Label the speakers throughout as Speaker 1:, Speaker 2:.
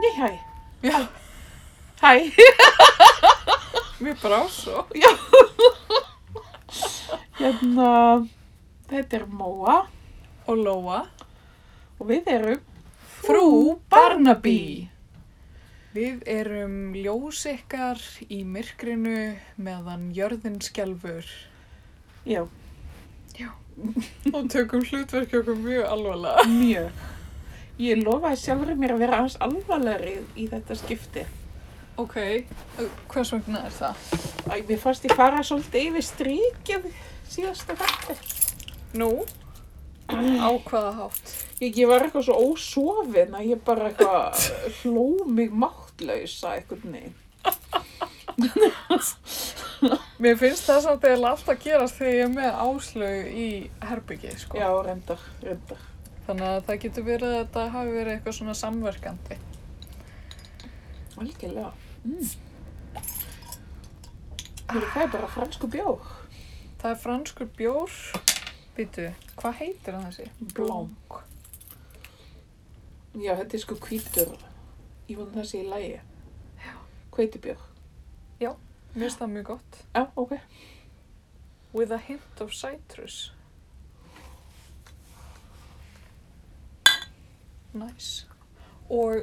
Speaker 1: Nei, hæ.
Speaker 2: Já,
Speaker 1: Hæ.
Speaker 2: mér bara á svo.
Speaker 1: Já. Hérna, þetta er Móa
Speaker 2: Og Lóa.
Speaker 1: og við erum
Speaker 2: Frú Barnaby. Við erum ljós ykkar í myrkrinu meðan jörðin skjálfur.
Speaker 1: Já,
Speaker 2: Og tökum hlutverki okkur mjög alvarlega.
Speaker 1: mjög. Ég lofaði sjálfur mér að vera aðeins alvarlegri í þetta skipti.
Speaker 2: Ok, hvers vegna er það?
Speaker 1: Æ, mér fannst ég fara svolítið yfir strikið síðasta þetta.
Speaker 2: Nú, á hvaða hátt?
Speaker 1: Ég, ég var eitthvað svo ósofin að ég bara eitthvað hló mig máttlausa einhvern veginn.
Speaker 2: Mér finnst það samt eða alltaf gerast þegar ég er með áslög í herbyggi, sko.
Speaker 1: Já, reyndar, reyndar.
Speaker 2: Þannig að það getur verið að þetta hafi verið eitthvað svona samverkandi.
Speaker 1: Algjörlega. Mm. Hörru, hvað er bara fransku bjór?
Speaker 2: Það er franskur bjór, býtu, hvað heitir hann þessi?
Speaker 1: Blanc. Já, þetta er sko hvítur. Ég vona það sé í lægi. Já. Hveitibjór.
Speaker 2: Mér finnst það mjög gott.
Speaker 1: Já, ok.
Speaker 2: With a hint of citrus. Nice. Og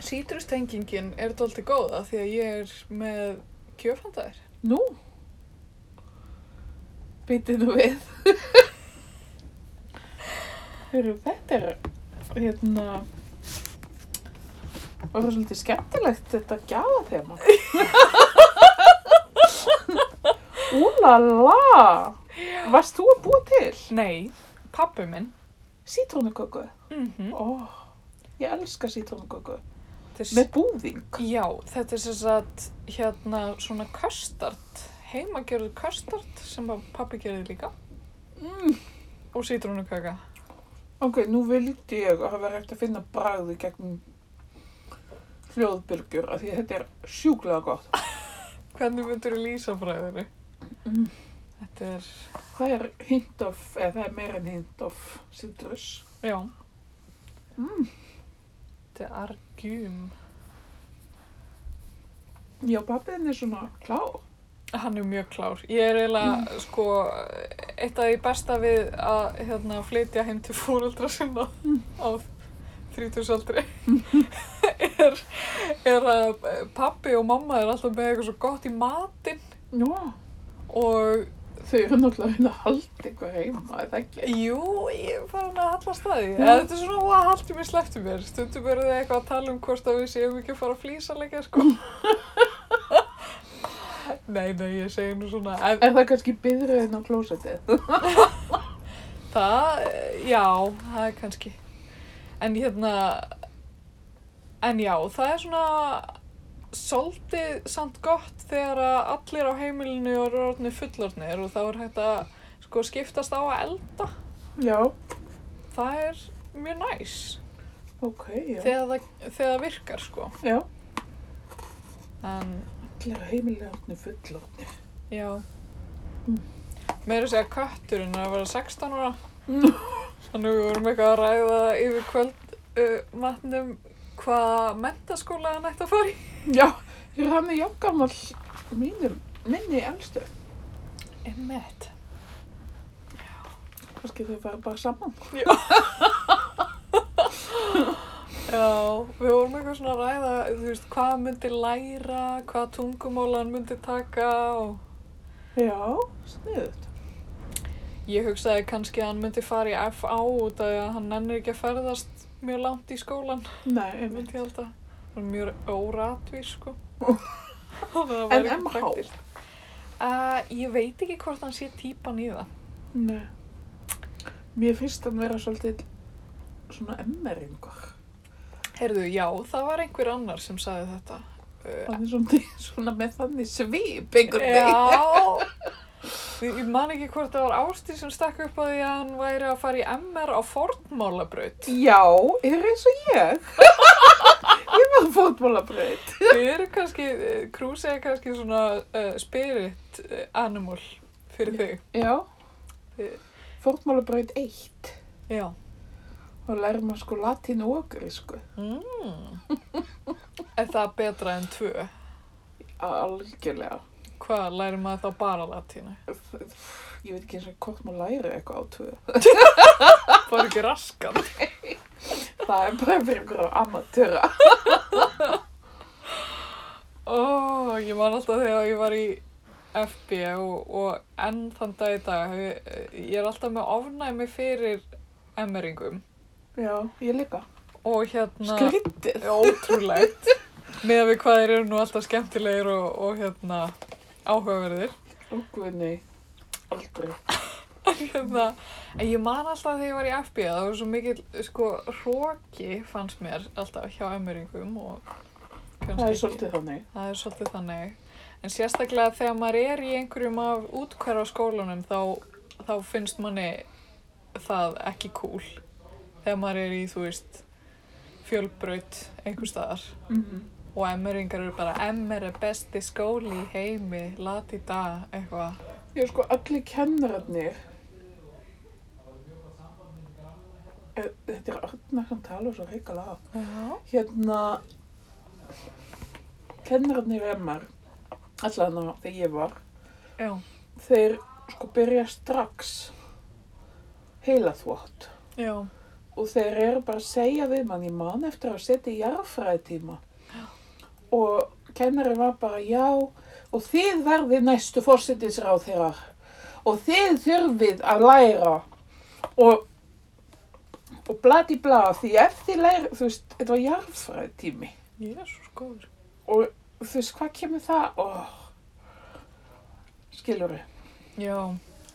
Speaker 2: citrustengingin er dálítið góða því að ég er með kjöfandar.
Speaker 1: Nú? Býtið nú við. Hörru, þetta er, hérna, var svolítið skemmtilegt þetta gjafa þema. Úlala! Varst þú að búa til?
Speaker 2: Nei, pappi minn.
Speaker 1: Sítrónuköku.
Speaker 2: Mm
Speaker 1: Ó, ég elska sítrónuköku.
Speaker 2: Þess,
Speaker 1: Með búðing.
Speaker 2: já, þetta er sem sagt hérna svona kastard, heimagerður kastard sem að pappi gerði líka
Speaker 1: Mm.
Speaker 2: og sítrónukaka.
Speaker 1: Ok, nú vildi ég að hafa hægt að finna bragði gegn hljóðbylgjur af því að þetta er sjúklega gott.
Speaker 2: Hvernig myndur þú lýsa fræðinu?
Speaker 1: Mm.
Speaker 2: Þetta er,
Speaker 1: Það er hint of, eða það er meira en hint of citrus.
Speaker 2: já,
Speaker 1: Mm.
Speaker 2: þetta er argjum.
Speaker 1: Já, pappiðin er svona klár.
Speaker 2: Hann er mjög klár. Ég er eiginlega, sko, eitt af því besta við að hérna, flytja heim til fóreldra sinna á 30 aldri er, er að pappi og mamma er alltaf með eitthvað svo gott í matinn
Speaker 1: Já,
Speaker 2: og
Speaker 1: þau eru náttúrulega að reyna að halda eitthvað heima, eða ekki?
Speaker 2: jú, ég er farin að hallast að því.
Speaker 1: Já.
Speaker 2: Eða Þetta er svona hvað haldi mér sleppti mér. Stundum eru þið eitthvað að tala um hvort að við séum ekki að fara að flýsa leikja, sko. nei, nei, ég segi nú svona, ef,
Speaker 1: Er það kannski byðröðin á klósetið?
Speaker 2: Það, eh, já, það er kannski. En hérna, en já, það er svona svolítið samt gott þegar að allir á heimilinu eru orðnir fullorðnir og þá er hægt að sko skiptast á að elda.
Speaker 1: Já,
Speaker 2: Það er mjög næs
Speaker 1: ok, já.
Speaker 2: þegar það, þegar það virkar sko.
Speaker 1: Já,
Speaker 2: En
Speaker 1: allir heimilega átni fullorðni.
Speaker 2: já,
Speaker 1: Mm.
Speaker 2: meira að segja kötturinn er að vera 16 ára.
Speaker 1: Mm.
Speaker 2: Þannig við vorum eitthvað að ræða yfir kvöld uh, matnum hvað mentaskóla hann ætti að fara í.
Speaker 1: Já, ég er hann í jafngamall mínum, minni elstu.
Speaker 2: Emmett.
Speaker 1: Kannski þau fara bara saman.
Speaker 2: Já, við vorum eitthvað svona að ræða, þú veist, hvað hann myndi læra, hvað tungumóla hann myndi taka og
Speaker 1: Já, sniðut.
Speaker 2: ég hugsaði kannski að hann myndi fara í FA út af því að hann nennir ekki að ferðast mjög langt í skólan,
Speaker 1: Nei, einmitt.
Speaker 2: myndi ég held að. Hann er mjög óratvís, sko. Þannig að það
Speaker 1: En
Speaker 2: væri ekki
Speaker 1: MH?
Speaker 2: praktískt. Eh, ég veit ekki hvort hann sé típan í það.
Speaker 1: Nei. Mér finnst hann vera svolítið svona emmeringar.
Speaker 2: Heyrðu, já, það var einhver annar sem sagði þetta. Uh,
Speaker 1: Hann er svona, svona með þannig svip einhvern veginn.
Speaker 2: Já, ég ég man ekki hvort það var Ásti sem stakk upp að því að hann væri að fara í MR á fornmálabraut.
Speaker 1: Já, er eins og ég. ég var fótmálabreyt.
Speaker 2: Þau eru kannski, Krúsi er kannski svona uh, spirit eh, animal fyrir þau.
Speaker 1: Já.
Speaker 2: Þið-
Speaker 1: Fótmálabreyt 1.
Speaker 2: Já,
Speaker 1: Nú lærir maður sko latínu og grísku.
Speaker 2: Mm. Er það betra en tvö?
Speaker 1: Algjörlega.
Speaker 2: Hvað lærir maður þá bara latínu?
Speaker 1: Ég veit ekki eins og hvort maður læri eitthvað á tvö.
Speaker 2: Það er ekki raskan.
Speaker 1: Það er bara fyrir einhverja amatýra.
Speaker 2: Ó, ég man alltaf þegar ég var í FB og, og enn þann dag í dag. Ég, ég er alltaf með ofnæmi fyrir emmeringum.
Speaker 1: Já, Ah. ég líka.
Speaker 2: Og hérna...
Speaker 1: Skrítið.
Speaker 2: Ótrúlegt. Með að við hvað þeir eru nú alltaf skemmtilegir og, og hérna áhugaverðir.
Speaker 1: Ógvinni. Aldrei.
Speaker 2: Hérna, en ég man alltaf þegar ég var í FB að það var svo mikill sko hróki fannst mér alltaf hjá emmeringum og
Speaker 1: Það
Speaker 2: kannski
Speaker 1: er svolítið þannig.
Speaker 2: það er svolítið þannig. En sérstaklega þegar maður er í einhverjum af útkverfa skólanum þá, þá finnst manni það ekki cool. Þegar maður er í, þú veist, fjölbraut einhver staðar.
Speaker 1: Mm
Speaker 2: Og emmeringar eru bara, emmer er besti skóli í heimi, lati dag, eitthvað.
Speaker 1: Já, sko, allir kennararnir. Eh, Þetta er Arnar sem tala svo heikala af.
Speaker 2: Já.
Speaker 1: Hérna, kennararnir emmar, allan á þegar ég var,
Speaker 2: Já.
Speaker 1: þeir sko byrja strax heilaþvott
Speaker 2: Já.
Speaker 1: og þeir eru bara að segja við mann ég man eftir að setja í jarðfræðitíma og kennari var bara já og þið verðið næstu fórsetisráð þeirra og þið þurfið að læra og og bladi bla því ef þið læra þú veist, þetta var jarðfræðitími
Speaker 2: Jésús góður.
Speaker 1: og þú veist, hvað kemur það oh. skilur við
Speaker 2: Já,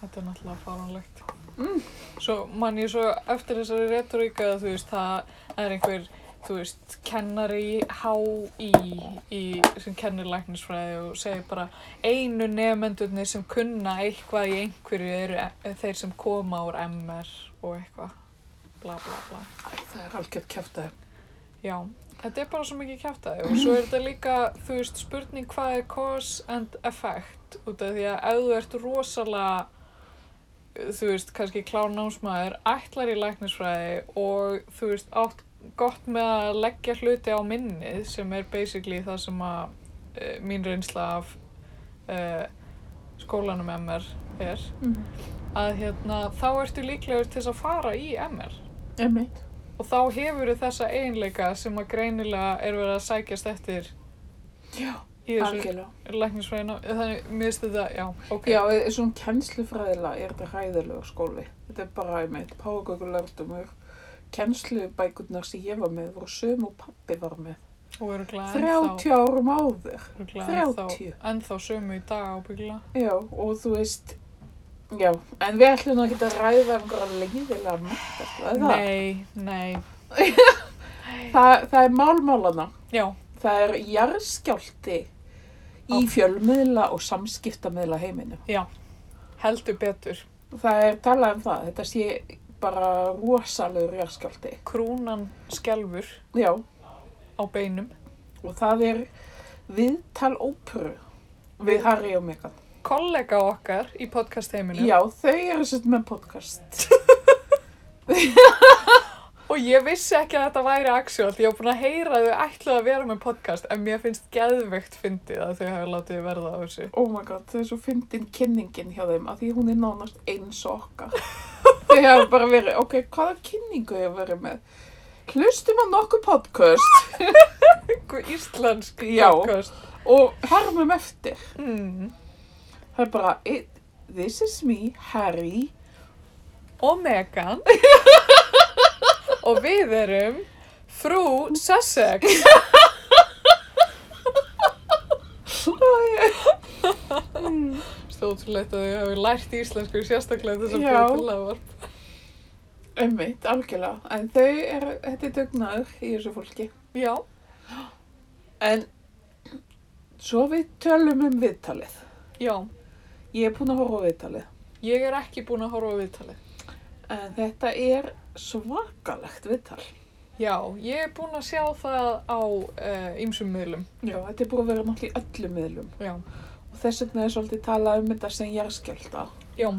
Speaker 2: þetta er náttúrulega faranlegt. Svo mann ég svo eftir þessari retoríka að þú veist, það það er einhver, þú veist, kennari HÍ í, sem kennir læknisfræði og segir bara einu nefnendurnir sem kunna eitthvað í einhverju eru e, þeir sem koma úr MR og eitthvað. Bla, bla, bla.
Speaker 1: Æ, það er algjörð kæftæði
Speaker 2: Já, þetta er bara svo mikið kjáftæði og svo er þetta líka, þú veist, spurning hvað er cause and effect út af því að ef þú ert rosalega, þú veist, kannski klán námsmaður, ætlar í læknisfræði og þú veist, átt gott með að leggja hluti á minnið sem er basically það sem að e, mín reynsla af e, skólanum MR er,
Speaker 1: mm.
Speaker 2: að hérna, þá ertu líklegur til þess að fara í MR.
Speaker 1: einmitt
Speaker 2: Og þá hefur þið þessa eiginleika sem að greinilega er verið að sækjast eftir
Speaker 1: já,
Speaker 2: í þessu
Speaker 1: algjörlega
Speaker 2: læknisfræðina. Þannig, mér finnst þetta, já, ok.
Speaker 1: Já, e- svona kennslufræðilega er þetta hræðilegur skóli. Þetta er bara einmitt págöku lærdomur. Kennslubækurnar sem ég var með voru söm og pappi var með.
Speaker 2: Og eru glæð ennþá,
Speaker 1: 30 árum áður.
Speaker 2: eru glæð ennþá,
Speaker 1: 30.
Speaker 2: ennþá sömu í dag ábyggla.
Speaker 1: Já, og þú veist, já, en við ætlum að geta að ræða einhverja leiðilega mættast.
Speaker 2: Nei, nei,
Speaker 1: Það, það er málmálana.
Speaker 2: já,
Speaker 1: Það er jarðskjálti í
Speaker 2: Á.
Speaker 1: fjölmiðla og samskiptamiðla heiminu.
Speaker 2: heldur betur.
Speaker 1: Það er talað um það. Þetta sé bara rosalegur jarðskjálti.
Speaker 2: Krúnan skelfur
Speaker 1: Já,
Speaker 2: á beinum.
Speaker 1: og það er viðtal óperu við Harry og Megan.
Speaker 2: Kollega okkar í podcastheiminum.
Speaker 1: Já, þau eru sett með podcast.
Speaker 2: Og ég vissi ekki að þetta væri actual, ég var búin að heyra að þau ætlaði að vera með podcast, en mér finnst geðveikt fyndið að þau hafi látið verða á þessu.
Speaker 1: Oh my god, þau er svo fyndin kynningin hjá þeim að því hún er nánast eins og okkar. þau hafa bara verið, ok, hvaða kynningu hefur verið með? Hlustum á nokkuð podcast
Speaker 2: Einhver íslensk
Speaker 1: Já.
Speaker 2: podcast.
Speaker 1: og hermum eftir.
Speaker 2: Mm.
Speaker 1: Það er bara, it, this is me, Harry.
Speaker 2: Og Megan. og við erum frú Sussex.
Speaker 1: Mm.
Speaker 2: Stóðsvöld að þau hafi lært íslensku sérstaklega þess að
Speaker 1: Já.
Speaker 2: búið til að var.
Speaker 1: Einmitt, algjörlega. En þau eru, þetta er dugnaður í þessu fólki.
Speaker 2: Já.
Speaker 1: En svo við tölum um viðtalið.
Speaker 2: Já.
Speaker 1: Ég er búin að horfa á viðtalið.
Speaker 2: Ég er ekki búin að horfa á viðtalið.
Speaker 1: En þetta er svakalegt viðtal.
Speaker 2: Já, ég er búin að sjá það á uh, ýmsum miðlum.
Speaker 1: Já, þetta er búin að vera náttúrulega í öllum miðlum.
Speaker 2: Já.
Speaker 1: Og þess vegna er svolítið talað um þetta sem jarðskjálta.
Speaker 2: Já.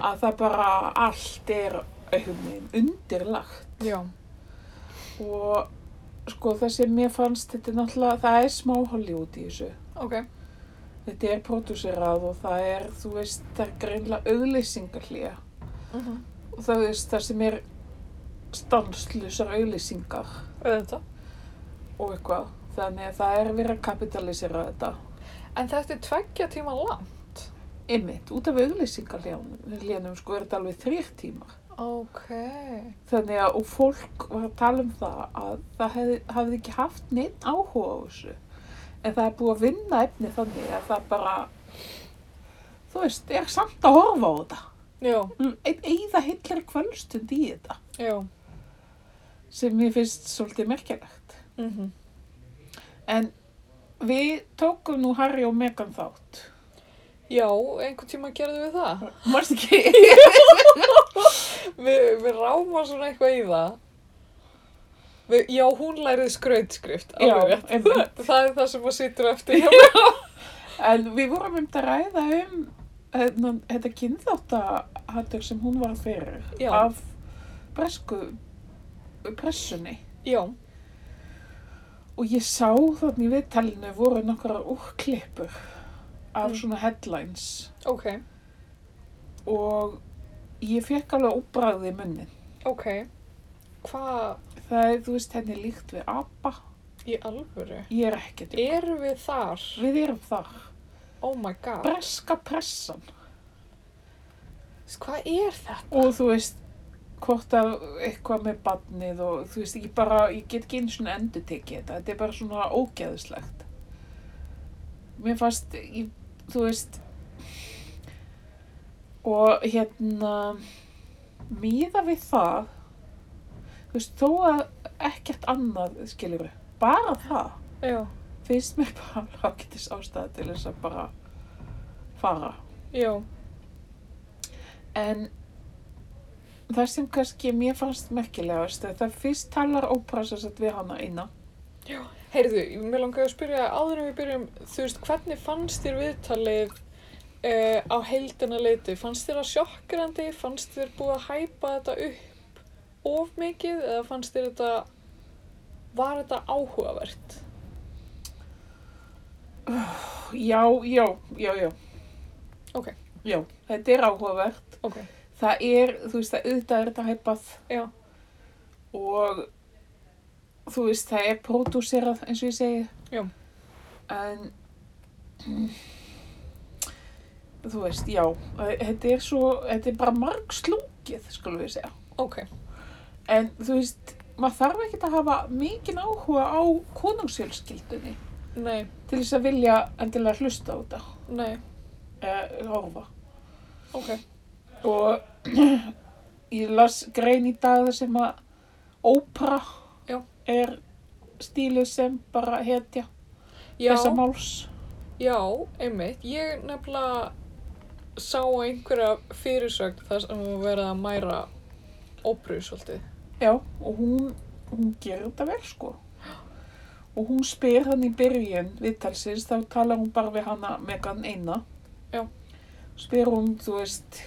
Speaker 1: Að það bara allt er einhvern veginn undirlagt.
Speaker 2: já,
Speaker 1: og sko það sem mér fannst þetta er náttúrulega, það er smá Hollywood í þessu
Speaker 2: ok,
Speaker 1: þetta er pródúserað og það er þú veist, það er greinlega auðlýsingarlýja
Speaker 2: mhm,
Speaker 1: og það veist það sem er stanslusar auðlýsingar
Speaker 2: auðvitað.
Speaker 1: og eitthvað þannig að það er verið að kapitalisera þetta
Speaker 2: En þetta er tveggja tíma lang.
Speaker 1: Einmitt, út af auðlýsingarlénum sko er þetta alveg þrýr tímar.
Speaker 2: Ok,
Speaker 1: Þannig að, og fólk var að tala um það að það hefði, hafði ekki haft neinn áhuga á þessu. En það er búið að vinna efni þannig að það bara, þú veist, er samt að horfa á þetta.
Speaker 2: já,
Speaker 1: Mm, Einn eigða heillar kvöldstund í þetta
Speaker 2: já,
Speaker 1: sem mér finnst svolítið merkilegt.
Speaker 2: mhm,
Speaker 1: En við tókum nú Harry og Meghan þátt.
Speaker 2: já, einhvern tíma gerðum við það.
Speaker 1: Marst ekki?
Speaker 2: Við, við ráma svona eitthvað í það. Við, já, hún lærið skrautskrift,
Speaker 1: Já,
Speaker 2: alveg rétt.
Speaker 1: einmitt.
Speaker 2: Það er það sem að situr eftir hjá mér.
Speaker 1: En við vorum um að ræða um hérna, þetta kynþáttahattur sem hún var fyrir
Speaker 2: Já.
Speaker 1: af bresku pressunni.
Speaker 2: Já,
Speaker 1: Og ég sá þannig í viðtalinu voru nokkrar úrklippur af
Speaker 2: Mm.
Speaker 1: svona headlines
Speaker 2: ok,
Speaker 1: og ég fekk alveg óbræði í munnin.
Speaker 2: ok. Hvað
Speaker 1: Það er, þú veist, henni er líkt við apa.
Speaker 2: í alvöru?
Speaker 1: Ég er ekki til.
Speaker 2: Erum við þar?
Speaker 1: Við erum þar.
Speaker 2: Oh my god.
Speaker 1: Breska pressan.
Speaker 2: Þú veist, Hvað er þetta?
Speaker 1: og þú veist hvort að eitthvað með badnið og þú veist, ég bara, ég get ekki einu svona endur tekið þetta, þetta er bara svona ógeðislegt mér fannst, ég, þú veist og hérna míða við það þú veist, þó að ekkert annað, skilur við, bara það
Speaker 2: Já,
Speaker 1: finnst mér bara ágætis ástæða til þess að bara fara
Speaker 2: já,
Speaker 1: En það sem kannski mér fannst merkilegast er það fyrst talar óprasast við hana eina.
Speaker 2: já. Heyrðu, mér langaði að spyrja áður en við byrjum, þú veist, hvernig fannst þér viðtalið uh, á heildina leiti? Fannst þér það sjokkrandi? Fannst þér búið að hæpa þetta upp of mikið? Eða fannst þér þetta, var þetta áhugavert?
Speaker 1: Já, já, já, já.
Speaker 2: Ok.
Speaker 1: Já, þetta er áhugavert.
Speaker 2: Ok,
Speaker 1: Það er, þú veist, það auðvitað er þetta hæpað.
Speaker 2: Já.
Speaker 1: Og þú veist, það er pródúserað eins og ég segi.
Speaker 2: Já.
Speaker 1: En þú veist, já, þetta er svo, þetta er bara marg slungið, skulum við segja.
Speaker 2: ok,
Speaker 1: En þú veist, maður þarf ekkert að hafa mikinn áhuga á konungsjölskyldunni
Speaker 2: nei,
Speaker 1: til þess að vilja endilega hlusta á þetta,
Speaker 2: nei,
Speaker 1: eh, horfa.
Speaker 2: ok,
Speaker 1: Og ég las grein í dag þar sem að ópera
Speaker 2: Já.
Speaker 1: er stíluð sem bara hetja
Speaker 2: já.
Speaker 1: þessa máls.
Speaker 2: Já, einmitt. Ég nefnilega sá einhverja fyrirsögn þar sem við verið að mæra óbruð svolítið.
Speaker 1: Já, og hún, hún gerir þetta vel sko. Og hún spyr hann í byrjun viðtalsins, þá talar hún bara við hana Megan eina.
Speaker 2: Já.
Speaker 1: Spyr hún, þú veist,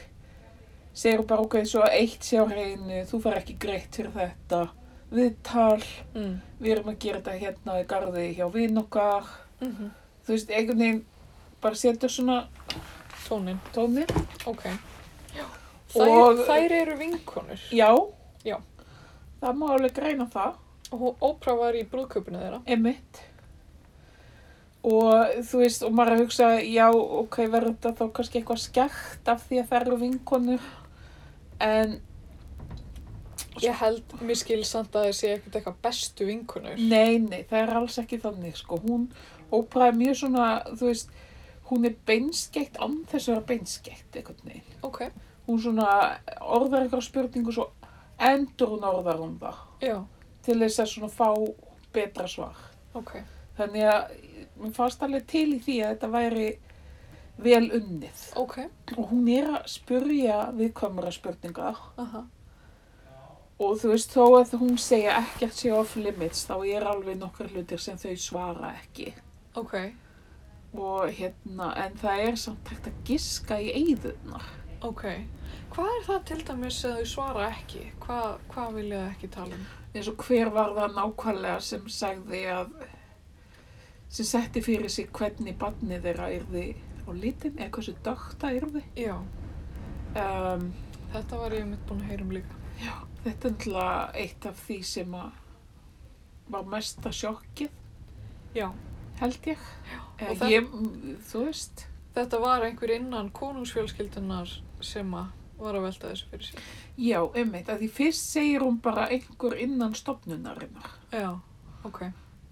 Speaker 1: segir hún bara ok, svo að eitt sé á hreinu, þú fær ekki greitt fyrir þetta. Viðtal,
Speaker 2: Mm.
Speaker 1: við erum að gera þetta hérna í garði hjá vinn okkar.
Speaker 2: Mm -hmm.
Speaker 1: Þú veist, einhvern veginn bara setur svona
Speaker 2: Tónin,
Speaker 1: tónir.
Speaker 2: ok. Þær,
Speaker 1: Og-
Speaker 2: þær eru vinkonur.
Speaker 1: Já.
Speaker 2: Já.
Speaker 1: Það má alveg greina það.
Speaker 2: Og óbra var í brúðköpunni þeirra.
Speaker 1: Einmitt. Og þú veist, og maður að hugsa, já, ok, verður þetta þá kannski eitthvað skekkt af því að það eru vinkonur. En
Speaker 2: Ég held mér skil samt að þessi ekkert eitthvað bestu vinkonur.
Speaker 1: nei, nei, það er alls ekki þannig, sko. Hún, Oprah er mjög svona, þú veist, hún er beinskeitt án þess að vera beinskeitt, einhvern veginn.
Speaker 2: Ok,
Speaker 1: Hún svona orðar eitthvað spurningu svo endur hún orðar um það
Speaker 2: já,
Speaker 1: til þess að svona fá betra svar.
Speaker 2: ok.
Speaker 1: Þannig að mér fannst alveg til í því að þetta væri vel unnið.
Speaker 2: Ok,
Speaker 1: og hún er að spurja viðkvæmara spurningar
Speaker 2: aha,
Speaker 1: og þú veist þó að hún segja ekkert sé off limits þá er alveg nokkar hlutir sem þau svara ekki
Speaker 2: ok.
Speaker 1: og hérna en það er samt hægt að giska í eyðunar
Speaker 2: Ok. Hvað er það til dæmis að þau svara ekki? Hvað, hvað vilja þau ekki tala um?
Speaker 1: eins og hver var það nákvæmlega sem sagði að sem setti fyrir sig hvernig barnið þeirra yrði á litin eða hversu dögt það yrði
Speaker 2: Já,
Speaker 1: um,
Speaker 2: þetta var ég mitt búin að heyra um líka.
Speaker 1: þetta er náttúrulega eitt af því sem að var mesta sjokkið
Speaker 2: Já,
Speaker 1: held ég,
Speaker 2: og
Speaker 1: Eða
Speaker 2: það-
Speaker 1: ég mm, þú veist
Speaker 2: þetta var einhver innan konungsfjölskyldunar sem að var að velta þessu fyrir sér.
Speaker 1: já, einmitt, að því fyrst segir hún bara einhver innan stopnunarinnar
Speaker 2: Já, ok.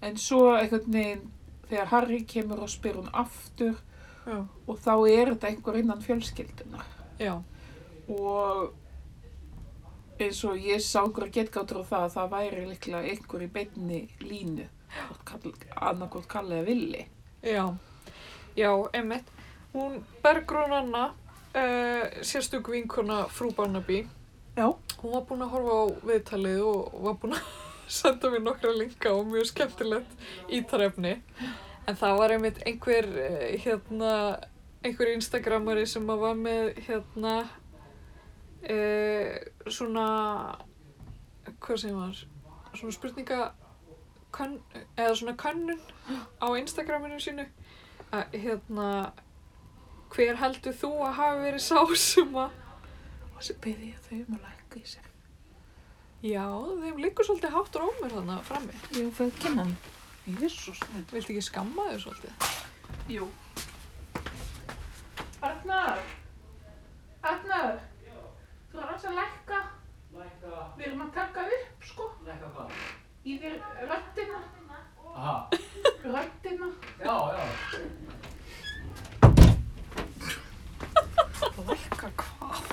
Speaker 1: en svo einhvern veginn þegar Harry kemur og spyr hún aftur
Speaker 2: Já,
Speaker 1: og þá er þetta einhver innan fjölskyldunar
Speaker 2: já,
Speaker 1: og eins og ég sá einhverja getgáttur á það að það væri líklega einhver í beinni línu annarkort kallaði villi
Speaker 2: já. Já, emmitt. Hún Bergrún Anna, uh, sérstök vinkona frú Barnaby,
Speaker 1: já,
Speaker 2: hún var búin að horfa á viðtalið og var búin að senda mér nokkra linka og mjög skemmtilegt ítarefni en það var einmitt einhver eh, hérna, einhver instagramari sem að var með hérna e, svona hvað sem var svona spurninga kann, eða svona kannun á instagraminu sínu að hérna hver heldur þú að hafi verið sá sem að
Speaker 1: og svo byrði ég þau um að lækka í sér
Speaker 2: Já, þeim liggur svolítið hátt rómur þarna frammi.
Speaker 1: ég fæði kynna hann jésús
Speaker 2: Viltu ekki skamma þau svolítið?
Speaker 1: jú Arnar Arnar þú er alls að lækka
Speaker 3: Lækka,
Speaker 1: við erum að taka upp sko
Speaker 3: lækka hvað?
Speaker 1: í þér röddina
Speaker 3: Aha,
Speaker 1: röddina
Speaker 3: já, já.
Speaker 2: Lækka hvað?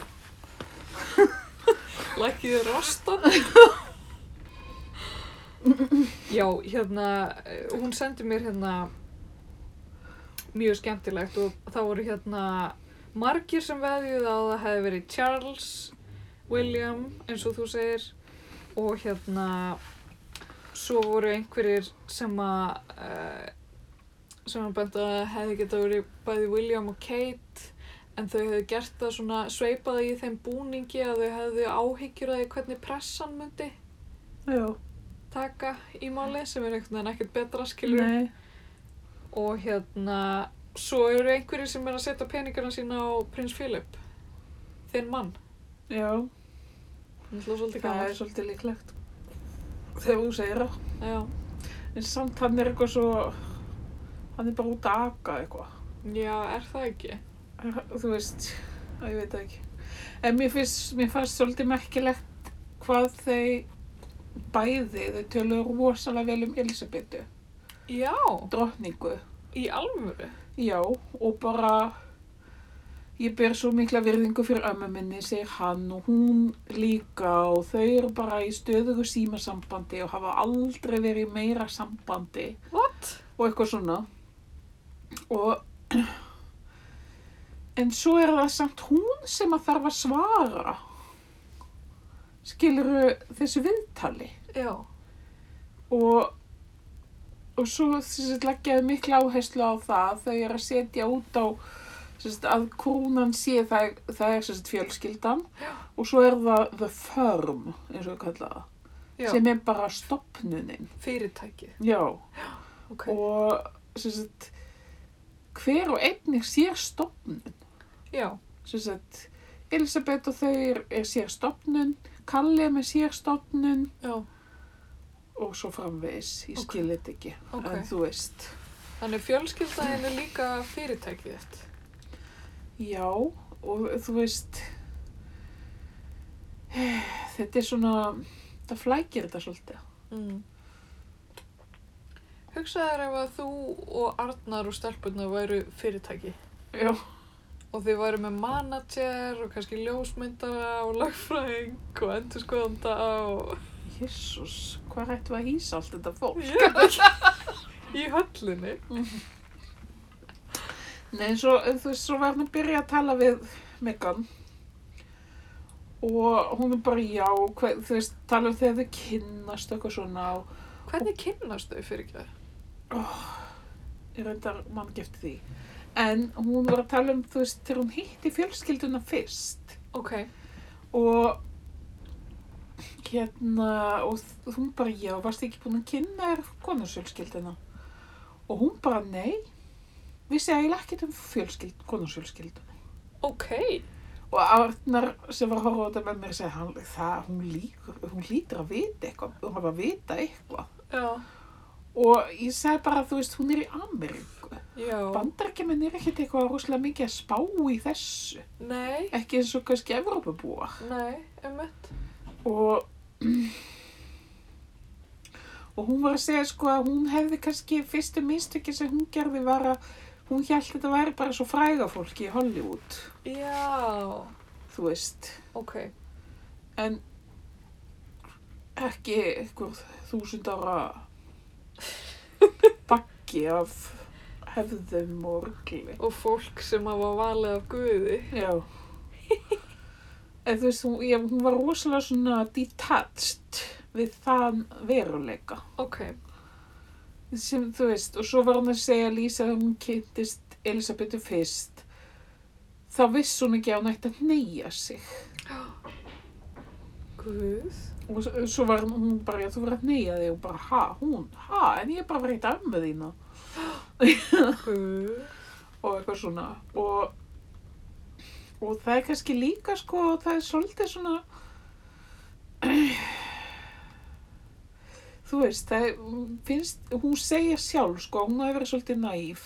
Speaker 2: Lækkið þau rastan? Já, hérna, eh, hún sendi mér hérna mjög skemmtilegt og það voru hérna margir sem veðjuð að það hefði verið Charles, William, eins og þú segir og hérna svo voru einhverjir sem að uh, sem að benda að hefði geta verið bæði William og Kate en þau hefðu gert það svona sveipaði í þeim búningi að þau hefðu áhyggjur að því hvernig pressan myndi
Speaker 1: já,
Speaker 2: taka í máli sem er einhvern veginn ekkert betra skilur
Speaker 1: nei
Speaker 2: og hérna svo eru einhverjir sem er að setja peningarna sína á prins Philip þinn mann
Speaker 1: já,
Speaker 2: hann ætla svolítið
Speaker 1: það er
Speaker 2: gammal
Speaker 1: svolítið líklegt þegar þú segir það
Speaker 2: já,
Speaker 1: En samt hann er eitthvað svo, hann er bara út að aka eitthvað.
Speaker 2: já, er það ekki
Speaker 1: Þú veist, að ég veit það ekki. En mér finnst, mér fannst svolítið merkilegt hvað þau bæði, þau töluðu rosalega vel um Elisabetu,
Speaker 2: já,
Speaker 1: drottningu.
Speaker 2: í alvöru
Speaker 1: Já, og bara, ég ber svo mikla virðingu fyrir ömmu minni, segir hann og hún líka og þau eru bara í stöðugu símasambandi og hafa aldrei verið í meira sambandi.
Speaker 2: what?
Speaker 1: og eitthvað svona og en svo er það samt hún sem að þarf að svara skiluru þessu viðtali
Speaker 2: já,
Speaker 1: og og svo sérst, leggjaði mikla áherslu á það þau er að setja út á sérst, að krúnan sé það, það er sérst, fjölskyldan
Speaker 2: Já.
Speaker 1: og svo er það the firm eins og við kalla það,
Speaker 2: já,
Speaker 1: sem er bara stopnunin
Speaker 2: fyrirtækið
Speaker 1: já
Speaker 2: ok,
Speaker 1: og sem sagt, hver og einn er sér stofnun
Speaker 2: já,
Speaker 1: sem sagt, Elisabeth og þau er, er sér stofnun Kalle er með sér stofnun
Speaker 2: já,
Speaker 1: og svo framvegis, ég
Speaker 2: Ok.
Speaker 1: skil þetta ekki
Speaker 2: ok
Speaker 1: en þú veist
Speaker 2: þannig fjölskyldaðin er líka fyrirtækið þitt
Speaker 1: já, og þú veist þetta er svona það flækir þetta svolítið
Speaker 2: mm. hugsaðu þér ef að þú og Arnar og stelpunna væru fyrirtæki
Speaker 1: já,
Speaker 2: Og þið væri með manager og kannski ljósmyndara og lagfræðing og endurskoðanda og
Speaker 1: jésús hvað ættum við að hýsa allt þetta fólk
Speaker 2: í höllinni.
Speaker 1: Nei, svo, eh, þú veist, svo var hann að byrja að tala við Megan og hún er bara já, hver, þú veist, tala um þegar þau kynnast og eitthvað svona og
Speaker 2: Hvernig kynnast þau fyrir ekki það?
Speaker 1: ég reyndar mann gift því. En hún var að tala um, þú veist, þegar hún hitti fjölskylduna fyrst
Speaker 2: ok,
Speaker 1: og hérna, og þ- hún bara, já, varst ekki búin að kynna þér konarsjölskylduna? Og hún bara, nei, vissi eiginlega ekkert um fjölskyld, konarsjölskylduna.
Speaker 2: ok,
Speaker 1: Og Arnar sem var að horfa á þetta með mér segi, hann, það, hún, líkur, hún lítur að vita eitthvað, hún hafa að vita eitthvað.
Speaker 2: já,
Speaker 1: Og ég segi bara, þú veist, hún er í Ameríku.
Speaker 2: já,
Speaker 1: Bandarkeminn er ekkert eitthvað rosalega mikið að spá í þessu.
Speaker 2: nei,
Speaker 1: ekki eins og kannski Evrópabúa
Speaker 2: nei, ummitt,
Speaker 1: og og hún var að segja sko að hún hefði kannski fyrstu mistöki sem hún gerði var að hún held þetta væri bara svo fræga fólki í Hollywood
Speaker 2: já,
Speaker 1: þú veist
Speaker 2: ok,
Speaker 1: en ekki einhver þúsund ára bakki af hefðum og rugli
Speaker 2: og fólk sem hafa valið af Guði,
Speaker 1: já en þú veist hún, já, hún var rosalega svona detached við þann veruleika
Speaker 2: ok,
Speaker 1: sem þú veist og svo var hún að segja að Lísa þegar hún kynntist Elisabetu fyrst þá viss hún ekki að hún ætti að neyja sig
Speaker 2: Guð,
Speaker 1: og s- svo var hún- hún bara, já þú verður að neyja þig og bara, ha, hún, ha, en ég er bara verið af með þína
Speaker 2: Guð,
Speaker 1: og eitthvað svona og, og það er kannski líka sko, það er svolítið svona þú veist, það er, hún finnst, hún segja sjálf sko, að hún hafi verið svolítið næf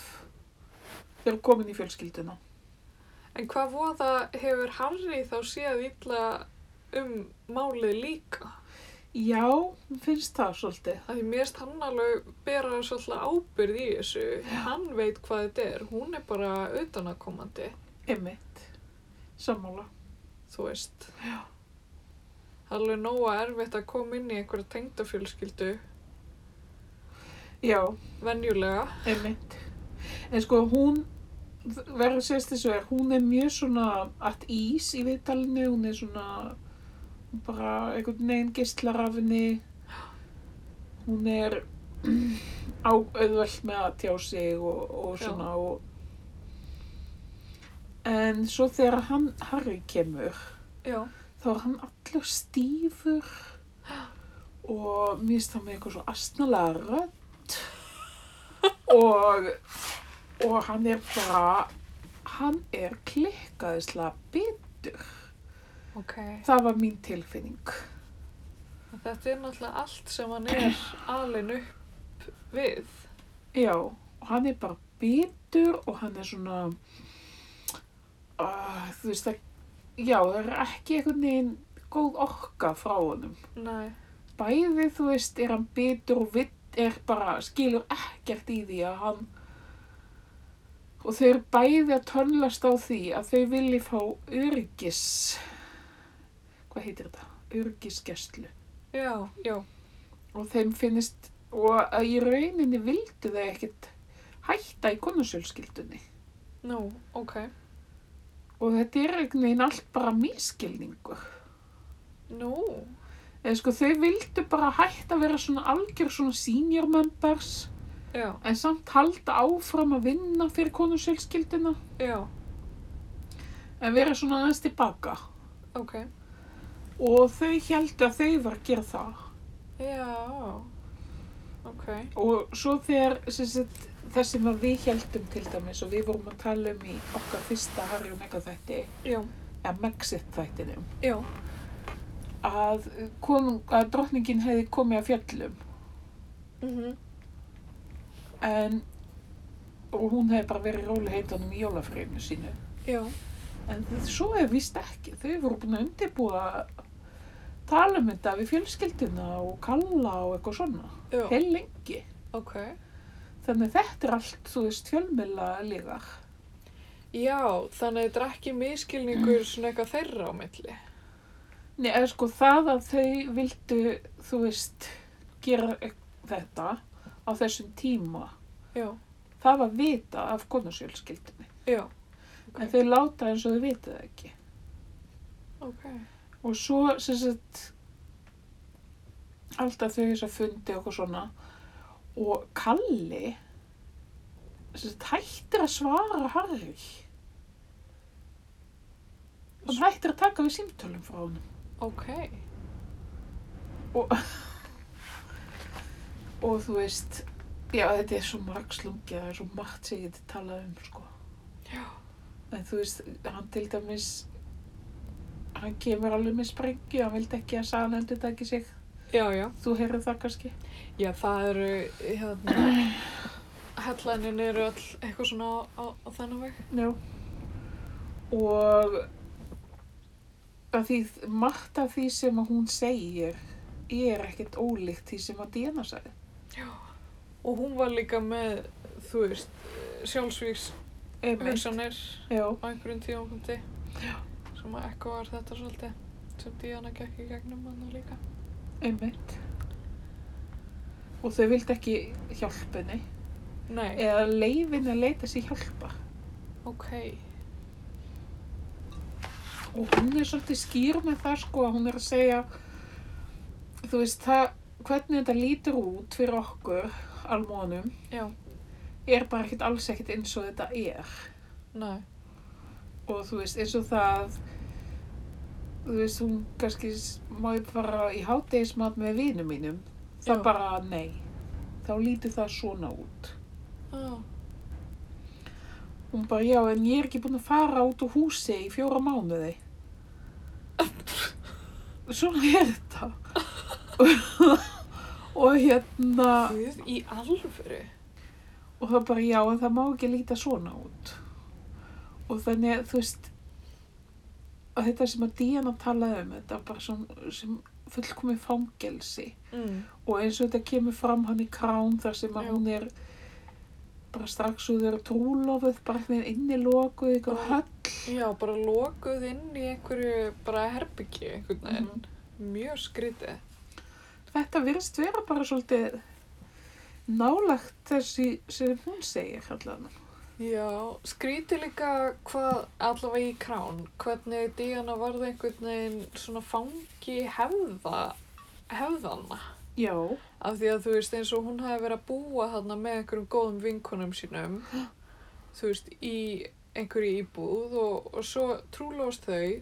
Speaker 1: þegar komin í fjölskylduna
Speaker 2: en hvað voða hefur Harry þá séð illa um málið líka?
Speaker 1: Já, mér finnst það svolítið.
Speaker 2: Af því mér erst hann alveg bera svolítið ábyrð í þessu. Hann veit hvað þetta er. Hún er bara utanakomandi,
Speaker 1: Emmitt. Sammála.
Speaker 2: þú veist. Já. Það er alveg nóga erfitt að koma inn í einhverja tengdafjölskyldu,
Speaker 1: Já,
Speaker 2: venjulega.
Speaker 1: emmitt. En sko hún, verður sérst þessu er, hún er mjög svona at ís í viðtalinu, hún er svona hún bara einhvern veginn gistlar af henni. Hún er á auðvöld með að tjá sig og, og
Speaker 2: Já.
Speaker 1: svona og En svo þegar hann, Harry kemur,
Speaker 2: Já.
Speaker 1: þá er hann allur stífur og mér finnst hann með eitthvað svo astnalega rödd og, og hann er bara, hann er klikkaðislega bitur.
Speaker 2: Ok.
Speaker 1: Það var mín tilfinning.
Speaker 2: Þetta er náttúrulega allt sem hann er alin upp við.
Speaker 1: Já, og hann er bara bitur og hann er svona, uh, þú veist það, já, það er ekki einhvern veginn góð orka frá honum.
Speaker 2: Nei.
Speaker 1: bæði, þú veist, er hann bitur og vitt, er bara, skilur ekkert í því að hann og þau eru bæði að tönnlast á því að þau vilji fá örgis hvað heitir þetta? örgisgeslu
Speaker 2: Já, já.
Speaker 1: og þeim finnist og að í rauninni vildu þau ekkert hætta í konusjölskyldunni
Speaker 2: Nú, ok.
Speaker 1: og þetta er einhvern veginn allt bara miskilningur
Speaker 2: Nú.
Speaker 1: eða sko þau vildu bara hætta að vera svona algjör svona senior members
Speaker 2: Já,
Speaker 1: En samt halda áfram að vinna fyrir konusjölskyldina
Speaker 2: já.
Speaker 1: en vera svona aðeins tilbaka.
Speaker 2: Ok.
Speaker 1: Og þau heldu að þau var að gera það.
Speaker 2: Já. Ok.
Speaker 1: Og svo þegar sem sagt, það sem að við heldum til dæmis og við vorum að tala um í okkar fyrsta Harry og Megga þætti,
Speaker 2: Já,
Speaker 1: eða Megxit þættinum,
Speaker 2: já.
Speaker 1: að, konung, að drottningin hefði komið að fjöllum
Speaker 2: Mhm.
Speaker 1: en, og hún hefði bara verið róli heitanum í jólafriðinu sínu.
Speaker 2: Já.
Speaker 1: En svo er víst ekki. Þau voru búin að undirbúa tala um þetta við fjölskylduna og kalla og eitthvað svona.
Speaker 2: Já,
Speaker 1: Heil lengi.
Speaker 2: ok.
Speaker 1: Þannig að þetta er allt, þú veist, fjölmilla lígar.
Speaker 2: Já, þannig að þetta er ekki miskilningur svona eitthvað þeirra á milli.
Speaker 1: Nei, eða sko það að þau vildu, þú veist, gera e- þetta á þessum tíma.
Speaker 2: Já,
Speaker 1: Það var vita af konarsjölskyldunni.
Speaker 2: já,
Speaker 1: En þau láta eins og þau vita það ekki.
Speaker 2: ok.
Speaker 1: Og svo, sem sagt, alltaf þau þess að fundi og eitthvað svona. Og Kalli sem sagt, hættir að svara Harry. Hann hættir að taka við símtölum frá honum.
Speaker 2: Ok.
Speaker 1: Og þú veist, já þetta er svo margslungið, það er svo margt sem ég geti talað um sko.
Speaker 2: Já.
Speaker 1: En þú veist, hann til dæmis, hann kemur alveg með sprengju, hann vildi ekki að salendur taki sig.
Speaker 2: Já, já.
Speaker 1: Þú heyrðu það kannski?
Speaker 2: Já, það eru, hérna, hellanin eru all eitthvað svona á, á, á þennan veg.
Speaker 1: Já. Og að því margt af því sem að hún segir er ekkert ólíkt því sem að Díana sagði.
Speaker 2: Og hún var líka með, þú veist, sjálfsvíks
Speaker 1: Einmitt.
Speaker 2: hugsanir
Speaker 1: Já,
Speaker 2: á einhverjum tíumfundi. Já. Sem að ekko var þetta svolítið, sem Díana gekk í gegnum hann líka.
Speaker 1: einmitt. Og þau vildi ekki hjálpa henni
Speaker 2: Nei,
Speaker 1: eða leifin að leita sér hjálpa.
Speaker 2: ok.
Speaker 1: Og hún er svolítið skýr með það sko að hún er að segja, þú veist, það, hvernig þetta lítur út fyrir okkur, almónum,
Speaker 2: Já,
Speaker 1: er bara ekkert alls ekkert eins og þetta er.
Speaker 2: nei,
Speaker 1: og þú veist eins og það þú veist hún kannski s- má ég fara í hátegismat með vinum mínum það
Speaker 2: Já.
Speaker 1: bara nei þá lítur það svona út
Speaker 2: já,
Speaker 1: hún bara já en ég er ekki búin að fara út úr húsi í fjóra mánuði svona er þetta og hérna
Speaker 2: Guð í alvöru.
Speaker 1: og það bara já en það má ekki líta svona út og þannig að þú veist að þetta sem að Díana talaði um þetta var bara svona sem fullkomi fangelsi
Speaker 2: Mm.
Speaker 1: og eins og þetta kemur fram hann í krán þar sem að
Speaker 2: Já.
Speaker 1: hún er bara strax úr þeirra trúlofuð bara hvernig innilokuð ykkur
Speaker 2: Bara-
Speaker 1: höll
Speaker 2: Já, bara lokuð inn í einhverju, bara herbyggju einhvern veginn.
Speaker 1: Mhm.
Speaker 2: Mjög skrítið.
Speaker 1: þetta virðist vera bara svolítið nálagt þessi sem hún segir allan
Speaker 2: Já, skrítið líka hvað allavega í krán, hvernig Díana varði einhvern veginn svona fangi hefða, hefðana.
Speaker 1: já,
Speaker 2: Af því að þú veist eins og hún hefði verið að búa þarna með einhverjum góðum vinkunum sínum, þú veist, í einhverju íbúð og, og svo trúlóðast þau,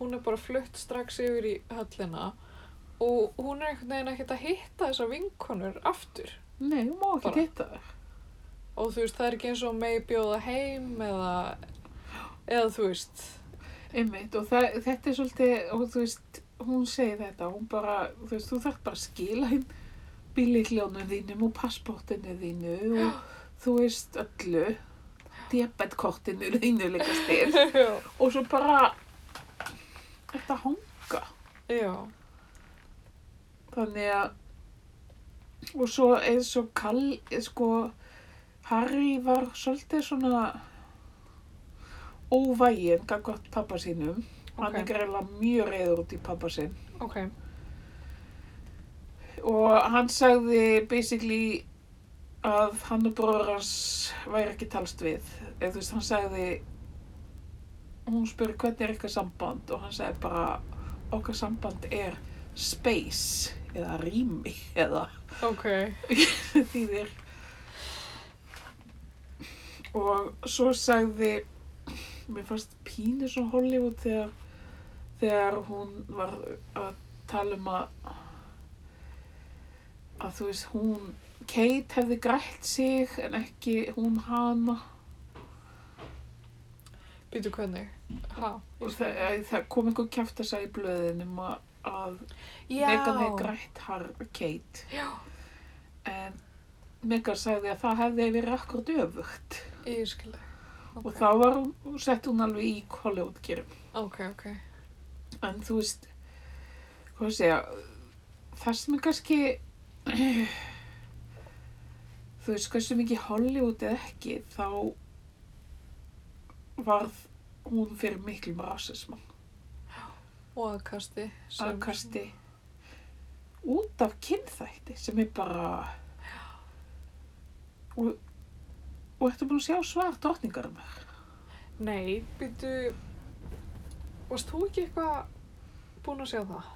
Speaker 2: hún er bara flutt strax yfir í höllina og hún er einhvern veginn ekkert að hitta þessar vinkunur aftur.
Speaker 1: nei, hún má
Speaker 2: Bara-
Speaker 1: ekki hitta það
Speaker 2: og þú veist það er ekki eins og megi bjóða heim eða eða þú veist
Speaker 1: Einmitt og það, þetta er svolítið, og þú veist, hún segir þetta, hún bara, þú veist, þú þarf bara að skila hinn bílikljónum þínum og passportinu þínu og þú veist öllu, debetkortinu þínu líka stil
Speaker 2: já,
Speaker 1: og svo bara, þetta hanga,
Speaker 2: já,
Speaker 1: þannig að, og svo eins og Kall, sko, Harry var svolítið svona óvæginn gangvart pappa sínum. Hann er
Speaker 2: ok,
Speaker 1: greiðlega mjög reyður út í pappa sinn
Speaker 2: ok
Speaker 1: og hann sagði basically að hann og bróður hans væri ekki talst við. Eða þú veist, hann sagði, hún spurði hvernig er eitthvað samband og hann sagði bara okkar samband er space eða rými eða
Speaker 2: ok,
Speaker 1: þýðir. Og svo sagði, mér fannst pínu svo Hollywood þegar, þegar hún var að tala um að, að þú veist, hún, Kate hefði grætt sig en ekki hún hana.
Speaker 2: býtu hvernig ha,
Speaker 1: Og það, eh, það kom einhver kjæft að segja í blöðinum að, að
Speaker 2: já,
Speaker 1: Megan hefði grætt har Kate.
Speaker 2: já,
Speaker 1: En Megan sagði að það hefði verið akkur döfugt.
Speaker 2: ég skilði
Speaker 1: Og
Speaker 2: ok,
Speaker 1: þá var hún, sett hún alveg í Hollywood-gerum.
Speaker 2: ok, ok
Speaker 1: En þú veist, hvað að segja, það sem er kannski, þú veist, hversu mikið Hollywood eða ekki, þá varð hún fyrir miklum rasisma,
Speaker 2: og aðkasti sem-
Speaker 1: aðkasti, út af kynþætti sem er bara, og, og ertu búin að sjá svar drottningar um það?
Speaker 2: nei, býtu varst þú ekki eitthvað búin að sjá það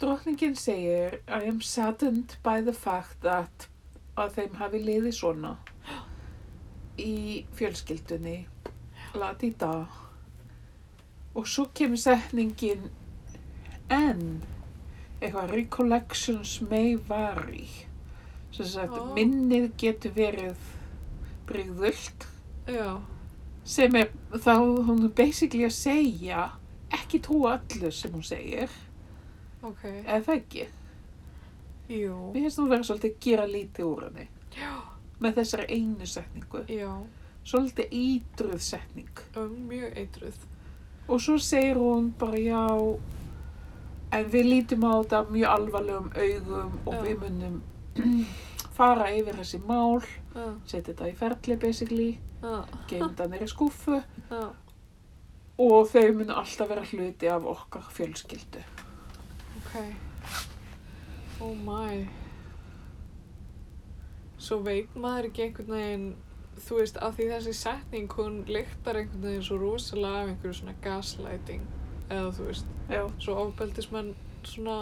Speaker 1: Drottningin segir I am saddened by the fact that að þeim hafi liðið svona í fjölskyldunni, ladíta, og svo kemur setningin en eitthvað recollections may vary. Sem sagt,
Speaker 2: Ó.
Speaker 1: minnið getur verið brygðult
Speaker 2: já,
Speaker 1: sem er þá hún er basically að segja ekki trúa öllu sem hún segir,
Speaker 2: ok,
Speaker 1: eða það ekki.
Speaker 2: jú,
Speaker 1: Mér finnst hún vera svolítið að gera lítið úr henni
Speaker 2: já,
Speaker 1: með þessari einu setningu.
Speaker 2: já,
Speaker 1: Svolítið ídruð setning.
Speaker 2: um, mjög eitruð,
Speaker 1: Og svo segir hún bara já, en við lítum á þetta mjög alvarlegum augum og
Speaker 2: Já.
Speaker 1: við munum fara yfir þessi mál,
Speaker 2: já,
Speaker 1: setja þetta í ferli basically,
Speaker 2: já,
Speaker 1: geymum þetta nýri skúfu
Speaker 2: já,
Speaker 1: og þau munu alltaf vera hluti af okkar fjölskyldu.
Speaker 2: ok, oh my, svo veit maður ekki einhvern veginn, þú veist, af því þessi setning, hún lyktar einhvern veginn svo rosalega af einhverju svona gaslighting, eða þú veist,
Speaker 1: Já,
Speaker 2: svo ofbeldismenn svona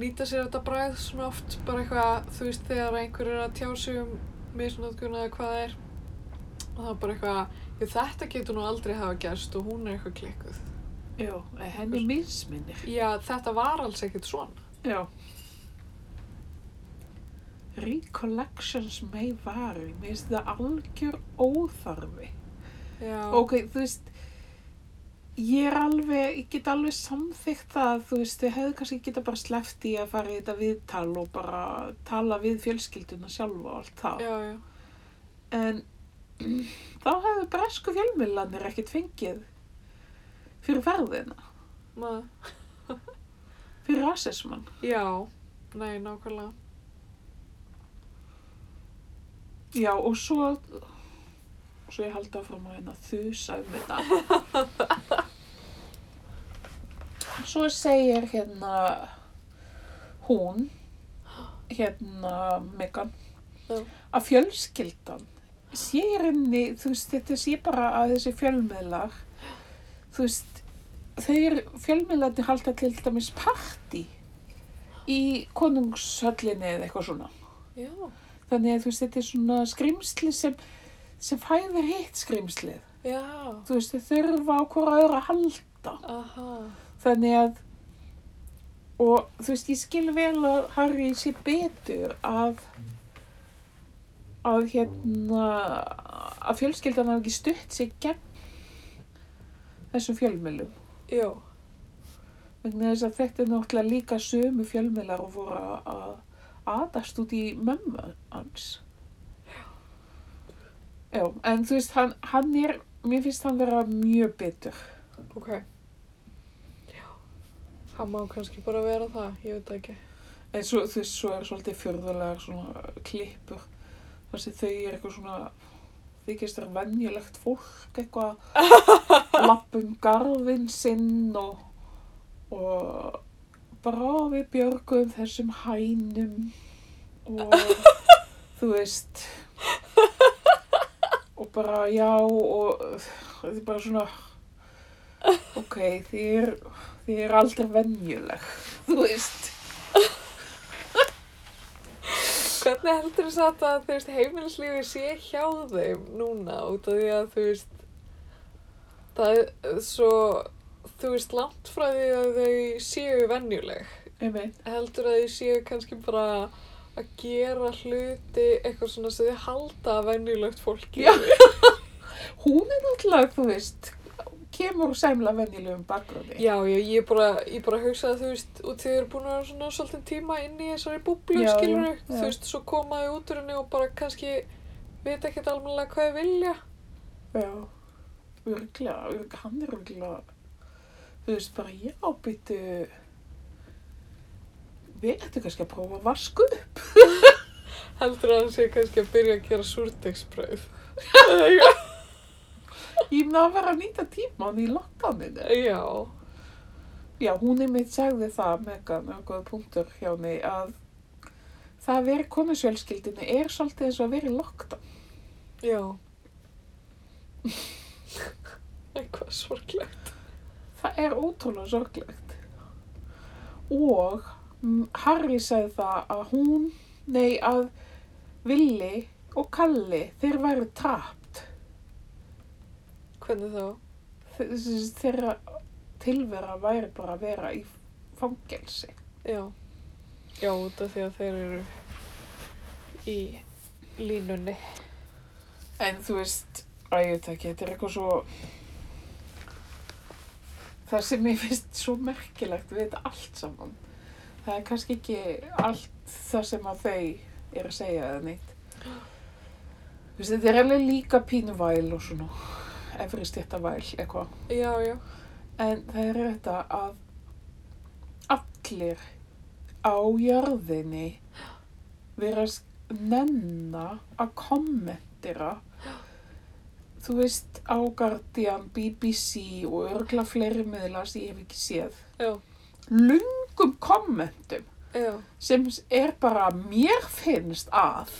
Speaker 2: nýta sér þetta bræð svona oft bara eitthvað, þú veist, þegar einhver er að tjá sig um misnótkun eða hvað það er og það er bara eitthvað "Já, þetta getur nú aldrei hafa gerst og hún er eitthvað klikkuð
Speaker 1: já, en henni misminnir.
Speaker 2: já, þetta var alls ekkert svona
Speaker 1: Já. Recollections may vary, mér finnst það algjör óþarfi.
Speaker 2: já,
Speaker 1: Ok, þú veist, ég er alveg, ég get alveg samþykkt það, þú veist, þau hefðu kannski geta bara sleppt í að fara í þetta viðtal og bara tala við fjölskylduna sjálfa og allt það.
Speaker 2: já, já,
Speaker 1: En þá hefðu bresku fjölmjölanir ekkert fengið fyrir ferðina,
Speaker 2: maður
Speaker 1: fyrir rasismann.
Speaker 2: já, nei, nákvæmlega
Speaker 1: Já, og svo, svo ég haldi áfram að hérna þusa um þetta. Svo segir hérna hún, hérna Megan,
Speaker 2: Já.
Speaker 1: að fjölskyldan sé í rauninni, þú veist, þetta sé bara að þessi fjölmiðlar, þú veist, þeir fjölmiðlarnir halda til dæmis partí í konungshöllinni eða eitthvað svona.
Speaker 2: já,
Speaker 1: Þannig að þú veist, þetta er svona skrimsli sem, sem fæðir hitt skrimslið.
Speaker 2: já,
Speaker 1: Þú veist, þau þurfa á hvora öðru að halda.
Speaker 2: aha
Speaker 1: Þannig að, og þú veist, ég skil vel að Harry sé betur að, að hérna, að fjölskyldan hafa ekki stutt sig gegn þessum fjölmjölum.
Speaker 2: já,
Speaker 1: Vegna þess að þetta er náttúrulega líka sömu fjölmjölar og voru að- að aðast út í mömmu hans. Já, en þú veist, hann, hann er, mér finnst hann vera mjög betur.
Speaker 2: ok já hann má kannski bara vera það, ég veit það ekki
Speaker 1: En svo, þú veist, svo er svolítið fjörðulegar svona klippur. Þess að þau eru eitthvað svona, þykist er venjulegt fólk eitthvað, lapp um garfinn sinn og, og bara "Ó, við björgum þessum hænum og þú veist, og bara já og þetta er bara svona, ok, þið er, þið er aldrei venjuleg, þú veist.
Speaker 2: Hvernig heldur þess að það, þú veist, heimilislífi sé hjá þeim núna út af því að, þú veist, það er svo, þú veist, langt frá því að þau séu venjuleg.
Speaker 1: Einmitt.
Speaker 2: Heldur að þau séu kannski bara að gera hluti eitthvað svona sem þau halda að venjulegt fólki.
Speaker 1: Já. Hún er náttúrulega, þú veist, kemur úr sæmla venjulegum bakgrundi.
Speaker 2: Já, já, ég bara, ég bara hugsaði, þú veist, og þið eru búin að vera svona svolítinn tíma inn í þessari búblu,
Speaker 1: Já, já,
Speaker 2: skilur
Speaker 1: já.
Speaker 2: þú veist, svo komaði út úr henni og bara kannski veit ekkert almennilega hvað þau vilja.
Speaker 1: Já. Örglega, örg, hann er örglega, þú veist, bara já, býttu, við ættum kannski að prófa að vasku.
Speaker 2: Heldur að hann sé kannski að byrja að gera súrdegsbrauð.
Speaker 1: Ég mun að vera að nýta tíman í lockdowninu.
Speaker 2: Já,
Speaker 1: Já, hún er mitt sagði það, Megan, og góða punktur hjá henni, að það að vera í konusjölskyldinu er svolítið eins og að vera í lockdown.
Speaker 2: já. Eitthvað sorglegt.
Speaker 1: Það er ótrúlega sorglegt. Og mm, Harry sagði það að hún, nei að Villi og Kalli, þeir væru trapt.
Speaker 2: Hvernig þá?
Speaker 1: Þe- þessi- Þeirra tilvera væri bara að vera í fangelsi.
Speaker 2: Já. Já, út af því að þeir eru í línunni.
Speaker 1: En þú veist, að ég veit ekki, þetta er eitthvað svo... Það sem ég finnst svo merkilegt við þetta allt saman. Það er kannski ekki allt það sem að þau er að segja eða neitt. Þú veist, þetta er alveg líka pínu væl og svona, efri styrta væl eitthvað.
Speaker 2: Já, já.
Speaker 1: En það er þetta að allir á jörðinni verðast nenna að kommentera þú veist á Guardian, BBC og örgla fleiri miðla sem ég hef ekki séð
Speaker 2: Já,
Speaker 1: lungum kommentum
Speaker 2: já.
Speaker 1: sem er bara mér finnst að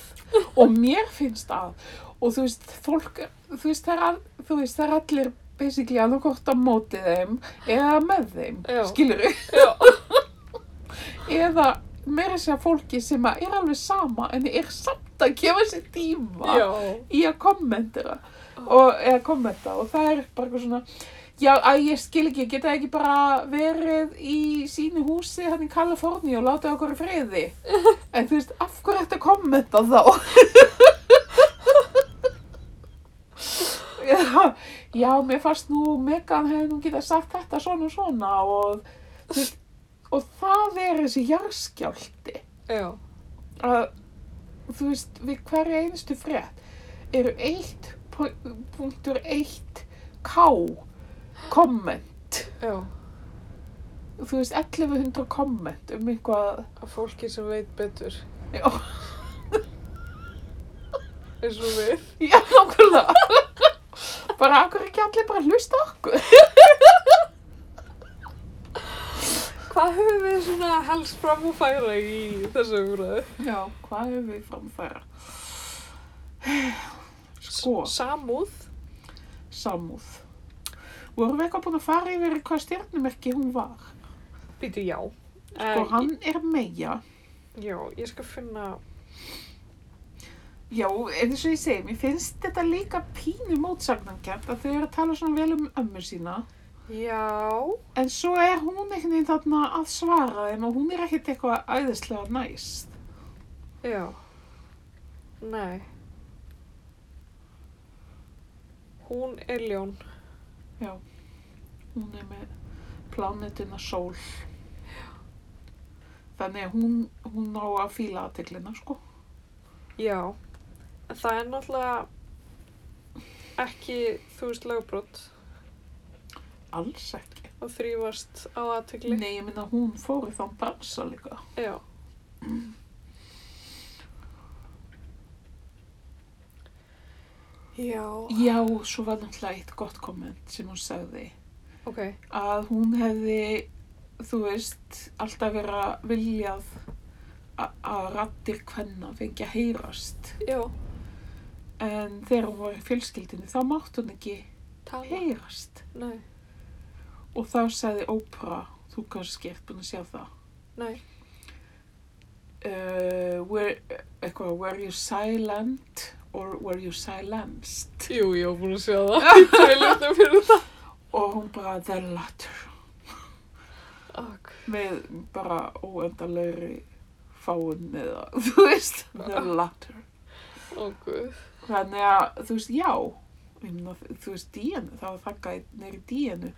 Speaker 1: og mér finnst að og þú veist, fólk, þú veist, það er, al- þú veist, það er allir basically alveg hvort á móti þeim eða með þeim,
Speaker 2: Já.
Speaker 1: skilur við
Speaker 2: Já.
Speaker 1: eða meira sér fólki sem að er alveg sama en er samt að gefa sér tíma
Speaker 2: Já.
Speaker 1: í að kommentera og, eða kommenta og það er bara eitthvað svona Já, að ég skil ekki, geta ekki bara verið í sínu húsi hann í Kaliforni og láta okkur í friði. En þú veist, af hverju ertu að kommenta þá? já, já, mér fannst nú Megan hefði nú getað sagt þetta svona og svona og, þú veist, og það er þessi jarðskjálti
Speaker 2: Já.
Speaker 1: að þú veist, við hverja einustu frétt eru 1.1k komment
Speaker 2: Já.
Speaker 1: þú veist, 1100 komment um eitthvað
Speaker 2: Að fólki sem veit betur.
Speaker 1: já,
Speaker 2: Eins og við.
Speaker 1: já nákvæmlega bara, akkur ekki allir bara að hlusta á okkur
Speaker 2: Hvað höfum við svona helst fram að færa í þessu umræðu?
Speaker 1: já, hvað hefur við framfæra? sko,
Speaker 2: Samúð.
Speaker 1: samúð vorum við eitthvað búin að fara yfir hvað stjörnumerki hún var?
Speaker 2: Býtu já.
Speaker 1: sko, hann er meja
Speaker 2: Já, ég skal finna...
Speaker 1: Já, eins og ég segi, mér finnst þetta líka pínu mótsagnangjönd að þau eru að tala svona vel um ömmu sína
Speaker 2: Já.
Speaker 1: en svo er hún einhvern veginn þarna að svara þeim og hún er ekkert eitthvað æðislega næst.
Speaker 2: Já. Nei. Hún er ljón.
Speaker 1: Hún er með plánetuna sól. Þannig að hún, hún ná að fíla aðteglina, sko.
Speaker 2: Já. En það er náttúrulega ekki, þú veist, lögbrot
Speaker 1: Alls ekki.
Speaker 2: að þrýfast á aðtegli.
Speaker 1: Nei, ég minna hún fór í þann bransa líka.
Speaker 2: Já. Já.
Speaker 1: Já, svo var náttúrulega eitt gott komment sem hún sagði.
Speaker 2: Ok.
Speaker 1: að hún hefði, þú veist, alltaf verið að viljað a- að rattir hvenna fengi að heyrast.
Speaker 2: Já.
Speaker 1: En þegar hún var í fjölskyldinni þá mátt hún ekki
Speaker 2: Tala.
Speaker 1: heyrast.
Speaker 2: Nei.
Speaker 1: Og þá sagði Oprah, þú kannski ert búin að sjá það,
Speaker 2: Nei.
Speaker 1: uh, where, eitthvað, were you silent or were you silenced?
Speaker 2: Jú, ég var búin að sjá það. Ég tölum fyrir það.
Speaker 1: Og hún bara, the latter,
Speaker 2: Ok.
Speaker 1: með bara óendalegri fáun eða, þú veist, the latter.
Speaker 2: Ok.
Speaker 1: Þannig að, þú veist, já, ég meina, þú veist, Díanu, það var þakkaði neyri Díanu.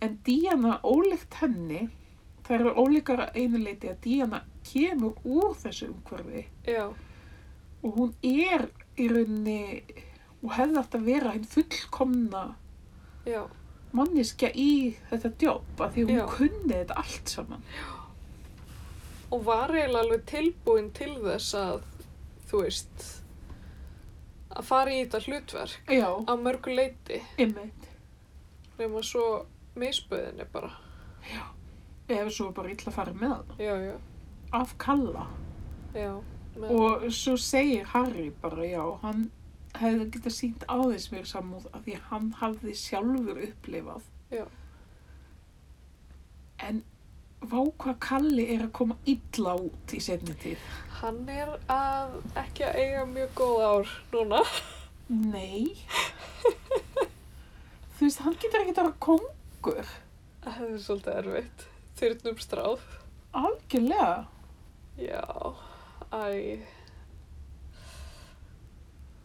Speaker 1: En Díana, ólíkt henni, það eru ólíkara einuleiti að Díana kemur úr þessu umhverfi
Speaker 2: Já.
Speaker 1: og hún er í rauninni og hefði átt að vera hinn fullkomna
Speaker 2: Já.
Speaker 1: manneskja í þetta djóp af því hún
Speaker 2: Já.
Speaker 1: kunni þetta allt saman.
Speaker 2: og var eiginlega alveg tilbúin til þess að þú veist að fara í þetta hlutverk
Speaker 1: Já,
Speaker 2: á mörgu leiti
Speaker 1: einmitt.
Speaker 2: nema svo misböðinni bara
Speaker 1: Ef svo bara illa farið með hana.
Speaker 2: já, já,
Speaker 1: Af kalla.
Speaker 2: já með,
Speaker 1: Og svo segir Harry bara já, hann hefði getað sínt aðeins mér samúð af því hann hafði sjálfur upplifað.
Speaker 2: Já.
Speaker 1: En vá hvað Kalli er að koma illa út í setni tíð.
Speaker 2: Hann er að ekki að eiga mjög góð ár núna.
Speaker 1: Nei. Þú veist, hann getur ekkert að vera kongur.
Speaker 2: Það er svolítið erfitt. Þyrnum stráð.
Speaker 1: Algjörlega.
Speaker 2: Já, æ.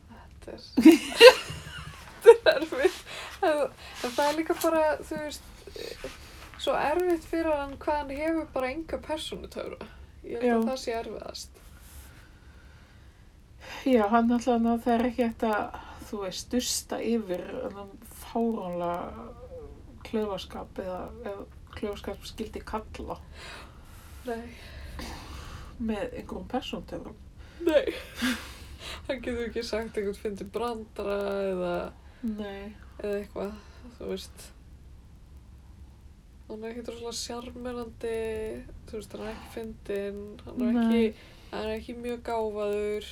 Speaker 2: Þetta er... Þetta er erfitt. En en það er líka bara, þú veist, eh, svo erfitt fyrir hann hvað hann hefur bara enga persónutöfra. Ég held að
Speaker 1: Já.
Speaker 2: það sé erfiðast.
Speaker 1: Já, hann allan að það er ekki hægt að, þú veist, dusta yfir þennan fáránlega klöfaskap eða, eða klöfaskap skildi kalla
Speaker 2: Nei,
Speaker 1: með einhverjum persóntöfrum.
Speaker 2: nei. Hann getur ekki sagt einhvern fyndi brandara eða...
Speaker 1: Nei.
Speaker 2: eða eitthvað, þú veist hann er ekki droslega sjarmerandi þú veist, hann er ekki fyndinn hann er
Speaker 1: Nei.
Speaker 2: ekki, hann er ekki mjög gáfaður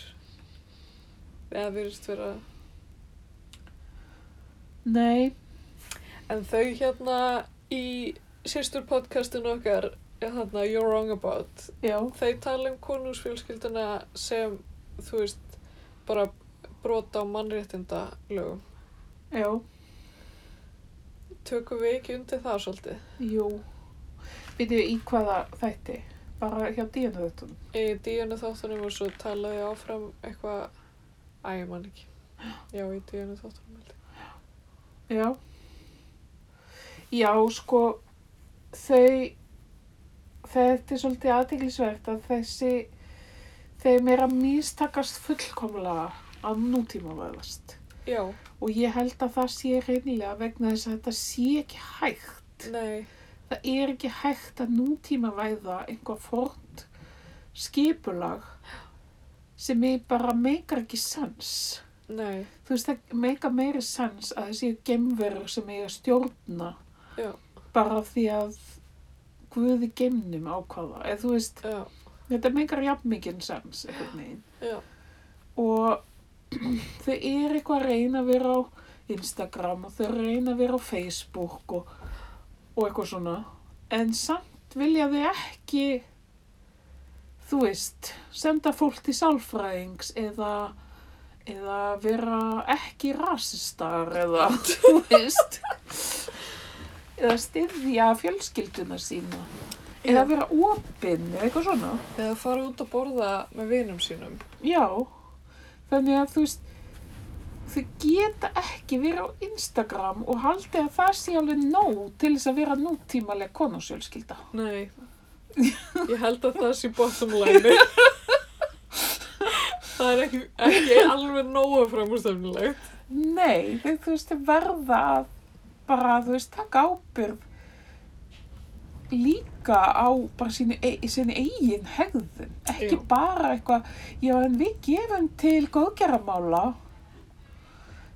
Speaker 2: eða virðist vera
Speaker 1: Nei.
Speaker 2: en þau hérna í sýstur podcastinu okkar þarna You're Wrong About
Speaker 1: Já.
Speaker 2: þau tala um konungsfjölskylduna sem, þú veist bara brota á mannréttinda lögum
Speaker 1: Já.
Speaker 2: tökum við ekki undir það svolítið
Speaker 1: Jú. Býtu í hvaða þætti? Bara hjá díðinu þetta?
Speaker 2: í díunu þáttunum og svo talaði ég áfram eitthvað Æ, ég man ekki Já, í díunu þáttunum held ég.
Speaker 1: Já. Já, sko, þau, þetta er svolítið aðteglisvert að þessi, þeim er að místakast fullkomlega að nútíma væðast.
Speaker 2: Já,
Speaker 1: Og ég held að það sé reynilega vegna þess að þetta sé ekki hægt.
Speaker 2: nei,
Speaker 1: Það er ekki hægt að nútíma væða einhvað fornt skipulag sem er bara meikar ekki sens
Speaker 2: nei,
Speaker 1: þú veist, það meika meiri sens að það séu gemverur sem eiga að stjórna
Speaker 2: Já.
Speaker 1: bara af því að Guði gemnum ákvaða eða þú veist,
Speaker 2: já,
Speaker 1: þetta meikar jafn mikið sens einhvern veginn
Speaker 2: já,
Speaker 1: og þau eru eitthvað að reyna að vera á Instagram og þau eru að reyna að vera á Facebook og, og eitthvað svona en samt vilja þau ekki þú veist senda fólk til sálfræðings eða eða vera ekki rasistar eða þú veist eða styðja fjölskylduna sína eða
Speaker 2: já.
Speaker 1: vera opinn eða eitthvað svona
Speaker 2: Eða fara út að borða með vinum sínum
Speaker 1: Já, þannig að þú veist, þau geta ekki verið á Instagram og haldið að það sé alveg nóg til þess að vera nútímaleg konungsjölskylda.
Speaker 2: Nei Ég held að það sé bottom line Það er ekki, ekki alveg nógu framúrstefnilegt
Speaker 1: Nei, þau, þú veist, þau verða að bara, þú veist, taka ábyrgð líka á bara sínu, e, sínu eigin hegðun. Ekki
Speaker 2: Jú.
Speaker 1: bara eitthvað, já en við gefum til góðgerðamála.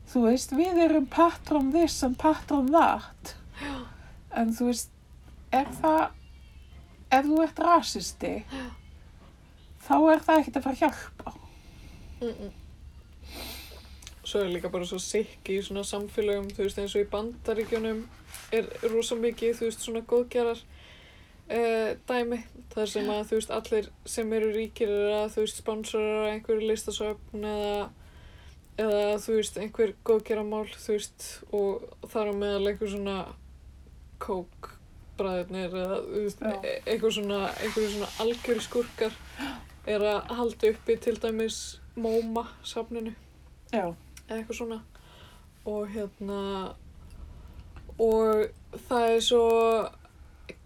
Speaker 1: Þú veist, við erum patron this and patron that. En þú veist, er það, ef þú ert rasisti, þá er það ekkert að fara að hjálpa.
Speaker 2: Svo er líka bara svo sikki í svona samfélögum, þú veist, eins og í bandaríkjunum er rosa mikið, þú veist, svona góðgerar uh, dæmi. þar sem að, þú veist, allir sem eru ríkir er að, þú veist, sponsorar einhverju listasöfn eða, eða, þú veist, einhver góðgeramál, þú veist, og þar á meðal einhver svona kók bræðirnir eða, þú veist,
Speaker 1: Já.
Speaker 2: e- einhver svona, einhverju svona algjör skurkar er að halda uppi til dæmis MoMA safninu
Speaker 1: Já,
Speaker 2: eða eitthvað svona og hérna og það er svo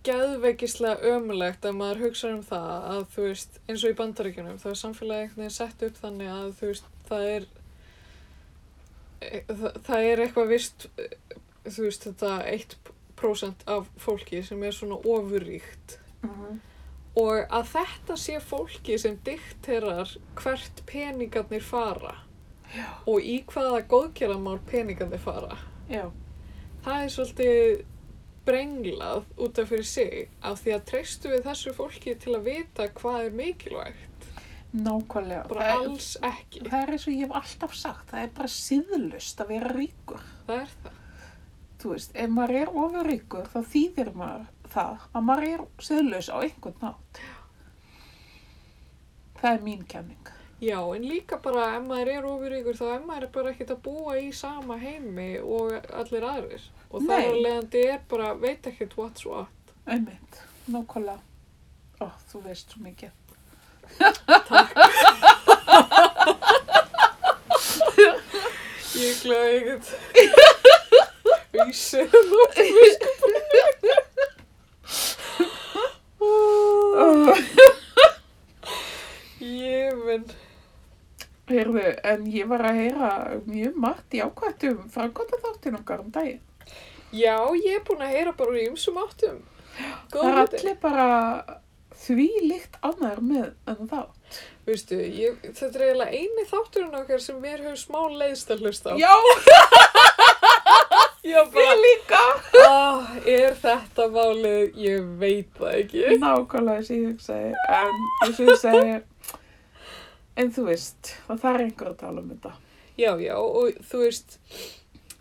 Speaker 2: geðveikislega ömulegt að maður hugsa um það að þú veist, eins og í bandaríkjunum þá er samfélagið einhvern veginn sett upp þannig að þú veist, það er e- það, það er eitthvað vist e, þú veist, þetta 1% af fólki sem er svona ofurríkt Mhm. og að þetta sé fólki sem dikterar hvert peningarnir fara
Speaker 1: Já.
Speaker 2: og í hvaða góðgeramál peningarnir fara
Speaker 1: já,
Speaker 2: það er svolítið brenglað út af fyrir sig af því að treystu við þessu fólki til að vita hvað er mikilvægt
Speaker 1: nákvæmlega. Eh,
Speaker 2: bara
Speaker 1: Það er-
Speaker 2: alls ekki
Speaker 1: Það er eins og ég hef alltaf sagt, það er bara síðlust að vera ríkur.
Speaker 2: það er það
Speaker 1: Þú veist, ef maður er ofurríkur þá þýðir maður, það að maður er siðlaus á einhvern nátt. Það er mín kenning.
Speaker 2: Já, en líka bara ef maður er ofuríkur þá ef maður er bara ekkert að búa í sama heimi og allir aðrir. Og þar
Speaker 1: Nei.
Speaker 2: að leiðandi er bara, veit ekkert what's what.
Speaker 1: Einmitt, nákvæmlega. Ó, þú veist svo mikið.
Speaker 2: Ég glæði ekkert. Vísi nú. Ég minn.
Speaker 1: Heyrðu, en ég var að heyra mjög margt jákvætt um framkvæmda þáttin okkar um daginn.
Speaker 2: Já, ég er búin að heyra bara úr ýmsum áttum.
Speaker 1: Það er
Speaker 2: Góð hluti.
Speaker 1: allir bara því líkt annar með en þá.
Speaker 2: Veistu, ég, þetta er eiginlega eini þátturinn okkar sem mér hefur smá leiðst að hlusta á.
Speaker 1: Já,
Speaker 2: ég bara,
Speaker 1: ég líka.
Speaker 2: ah, er þetta málið? Ég veit það ekki.
Speaker 1: Nákvæmlega sem ég hugsaði, en eins og ég segi, en þú veist, það þarf einhver að tala um þetta.
Speaker 2: Já, já, og þú veist,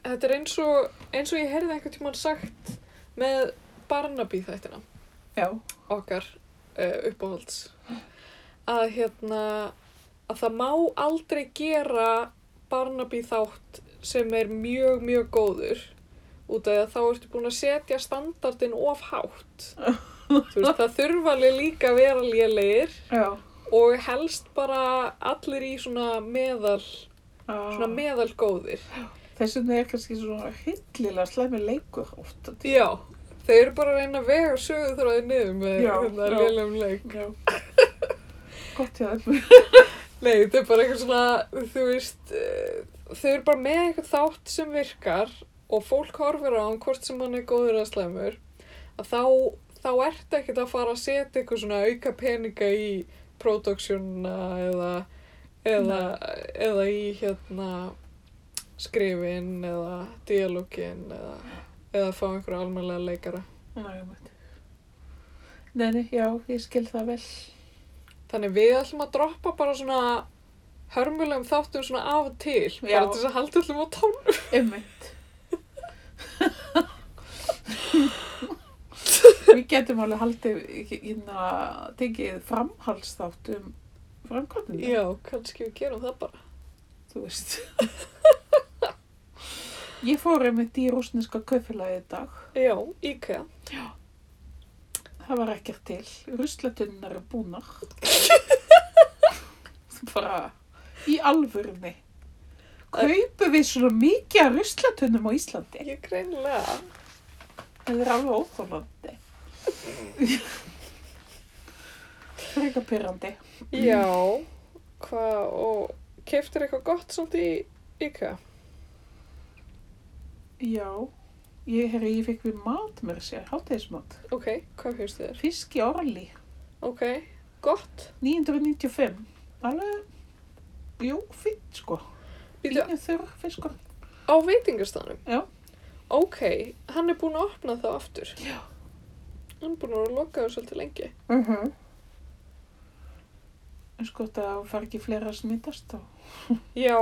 Speaker 2: þetta er eins og, eins og ég heyrði einhvern tímann sagt með Barnaby þættina
Speaker 1: Já,
Speaker 2: okkar uh, uppáhalds að hérna að það má aldrei gera Barnaby þátt sem er mjög, mjög góður út af því að þá ertu búin að setja standardin of hátt þú veist, það þurfa alveg líka að vera lélegir
Speaker 1: já.
Speaker 2: og helst bara allir í svona meðal svona
Speaker 1: Svona
Speaker 2: meðal góðir
Speaker 1: Þess vegna er kannski svona hillilega slæmi leikur oft.
Speaker 2: Já, þeir eru bara að reyna að vega sögurþráði niður með
Speaker 1: Já,
Speaker 2: hérna
Speaker 1: já.
Speaker 2: lélegum leik.
Speaker 1: Já. Gott hjá þeim.
Speaker 2: Nei, þetta er bara eitthvað svona, þú veist, eh, þau eru bara með eitthvað þátt sem virkar og fólk horfir á hann hvort sem hann er góður eða slæmur, að þá, þá ertu ekkert að fara að setja eitthvað svona auka peninga í produksjónuna eða, eða, eða í hérna skrifin eða dialógin eða, eða fá einhverja almennlega leikara.
Speaker 1: Nei, ég veit. Nei, nei, já, ég skil það vel.
Speaker 2: Þannig við ætlum að droppa bara svona hörmulegum þáttum svona af og til,
Speaker 1: Já.
Speaker 2: bara til þess að halda öllum á tónu.
Speaker 1: Einmitt. Við getum alveg haldið hérna tekið framhaldsþátt um framkvæmdina,
Speaker 2: Já, kannski við gerum það bara.
Speaker 1: þú veist. Ég fór einmitt í rúsneska kaufélagi í dag.
Speaker 2: Já, IKEA.
Speaker 1: Það var ekkert til. Ruslatunnar er búnar. Bara í alvörni. Kaupum við svona mikið af ruslatunnum á Íslandi?
Speaker 2: Ég greinilega.
Speaker 1: Það er alveg óþólandi. Freka pyrrandi.
Speaker 2: Já, hvað, og keftir eitthvað gott samt í IKEA?
Speaker 1: Já, ég, herri, ég fekk við mat mér að segja, hátæðismat.
Speaker 2: Ok, hvað fyrst þér?
Speaker 1: Fisk í orli,
Speaker 2: Ok, gott.
Speaker 1: 995. Alveg, jú, fint sko.
Speaker 2: Býtu
Speaker 1: Fínu þurr sko. fiskur.
Speaker 2: á veitingastanum?
Speaker 1: Já.
Speaker 2: Ok, hann er búinn að opna það aftur.
Speaker 1: Já.
Speaker 2: Hann er búinn að vera lokaður svolítið lengi.
Speaker 1: Uh -huh. En sko það fær ekki fleira að smittast þá.
Speaker 2: Já,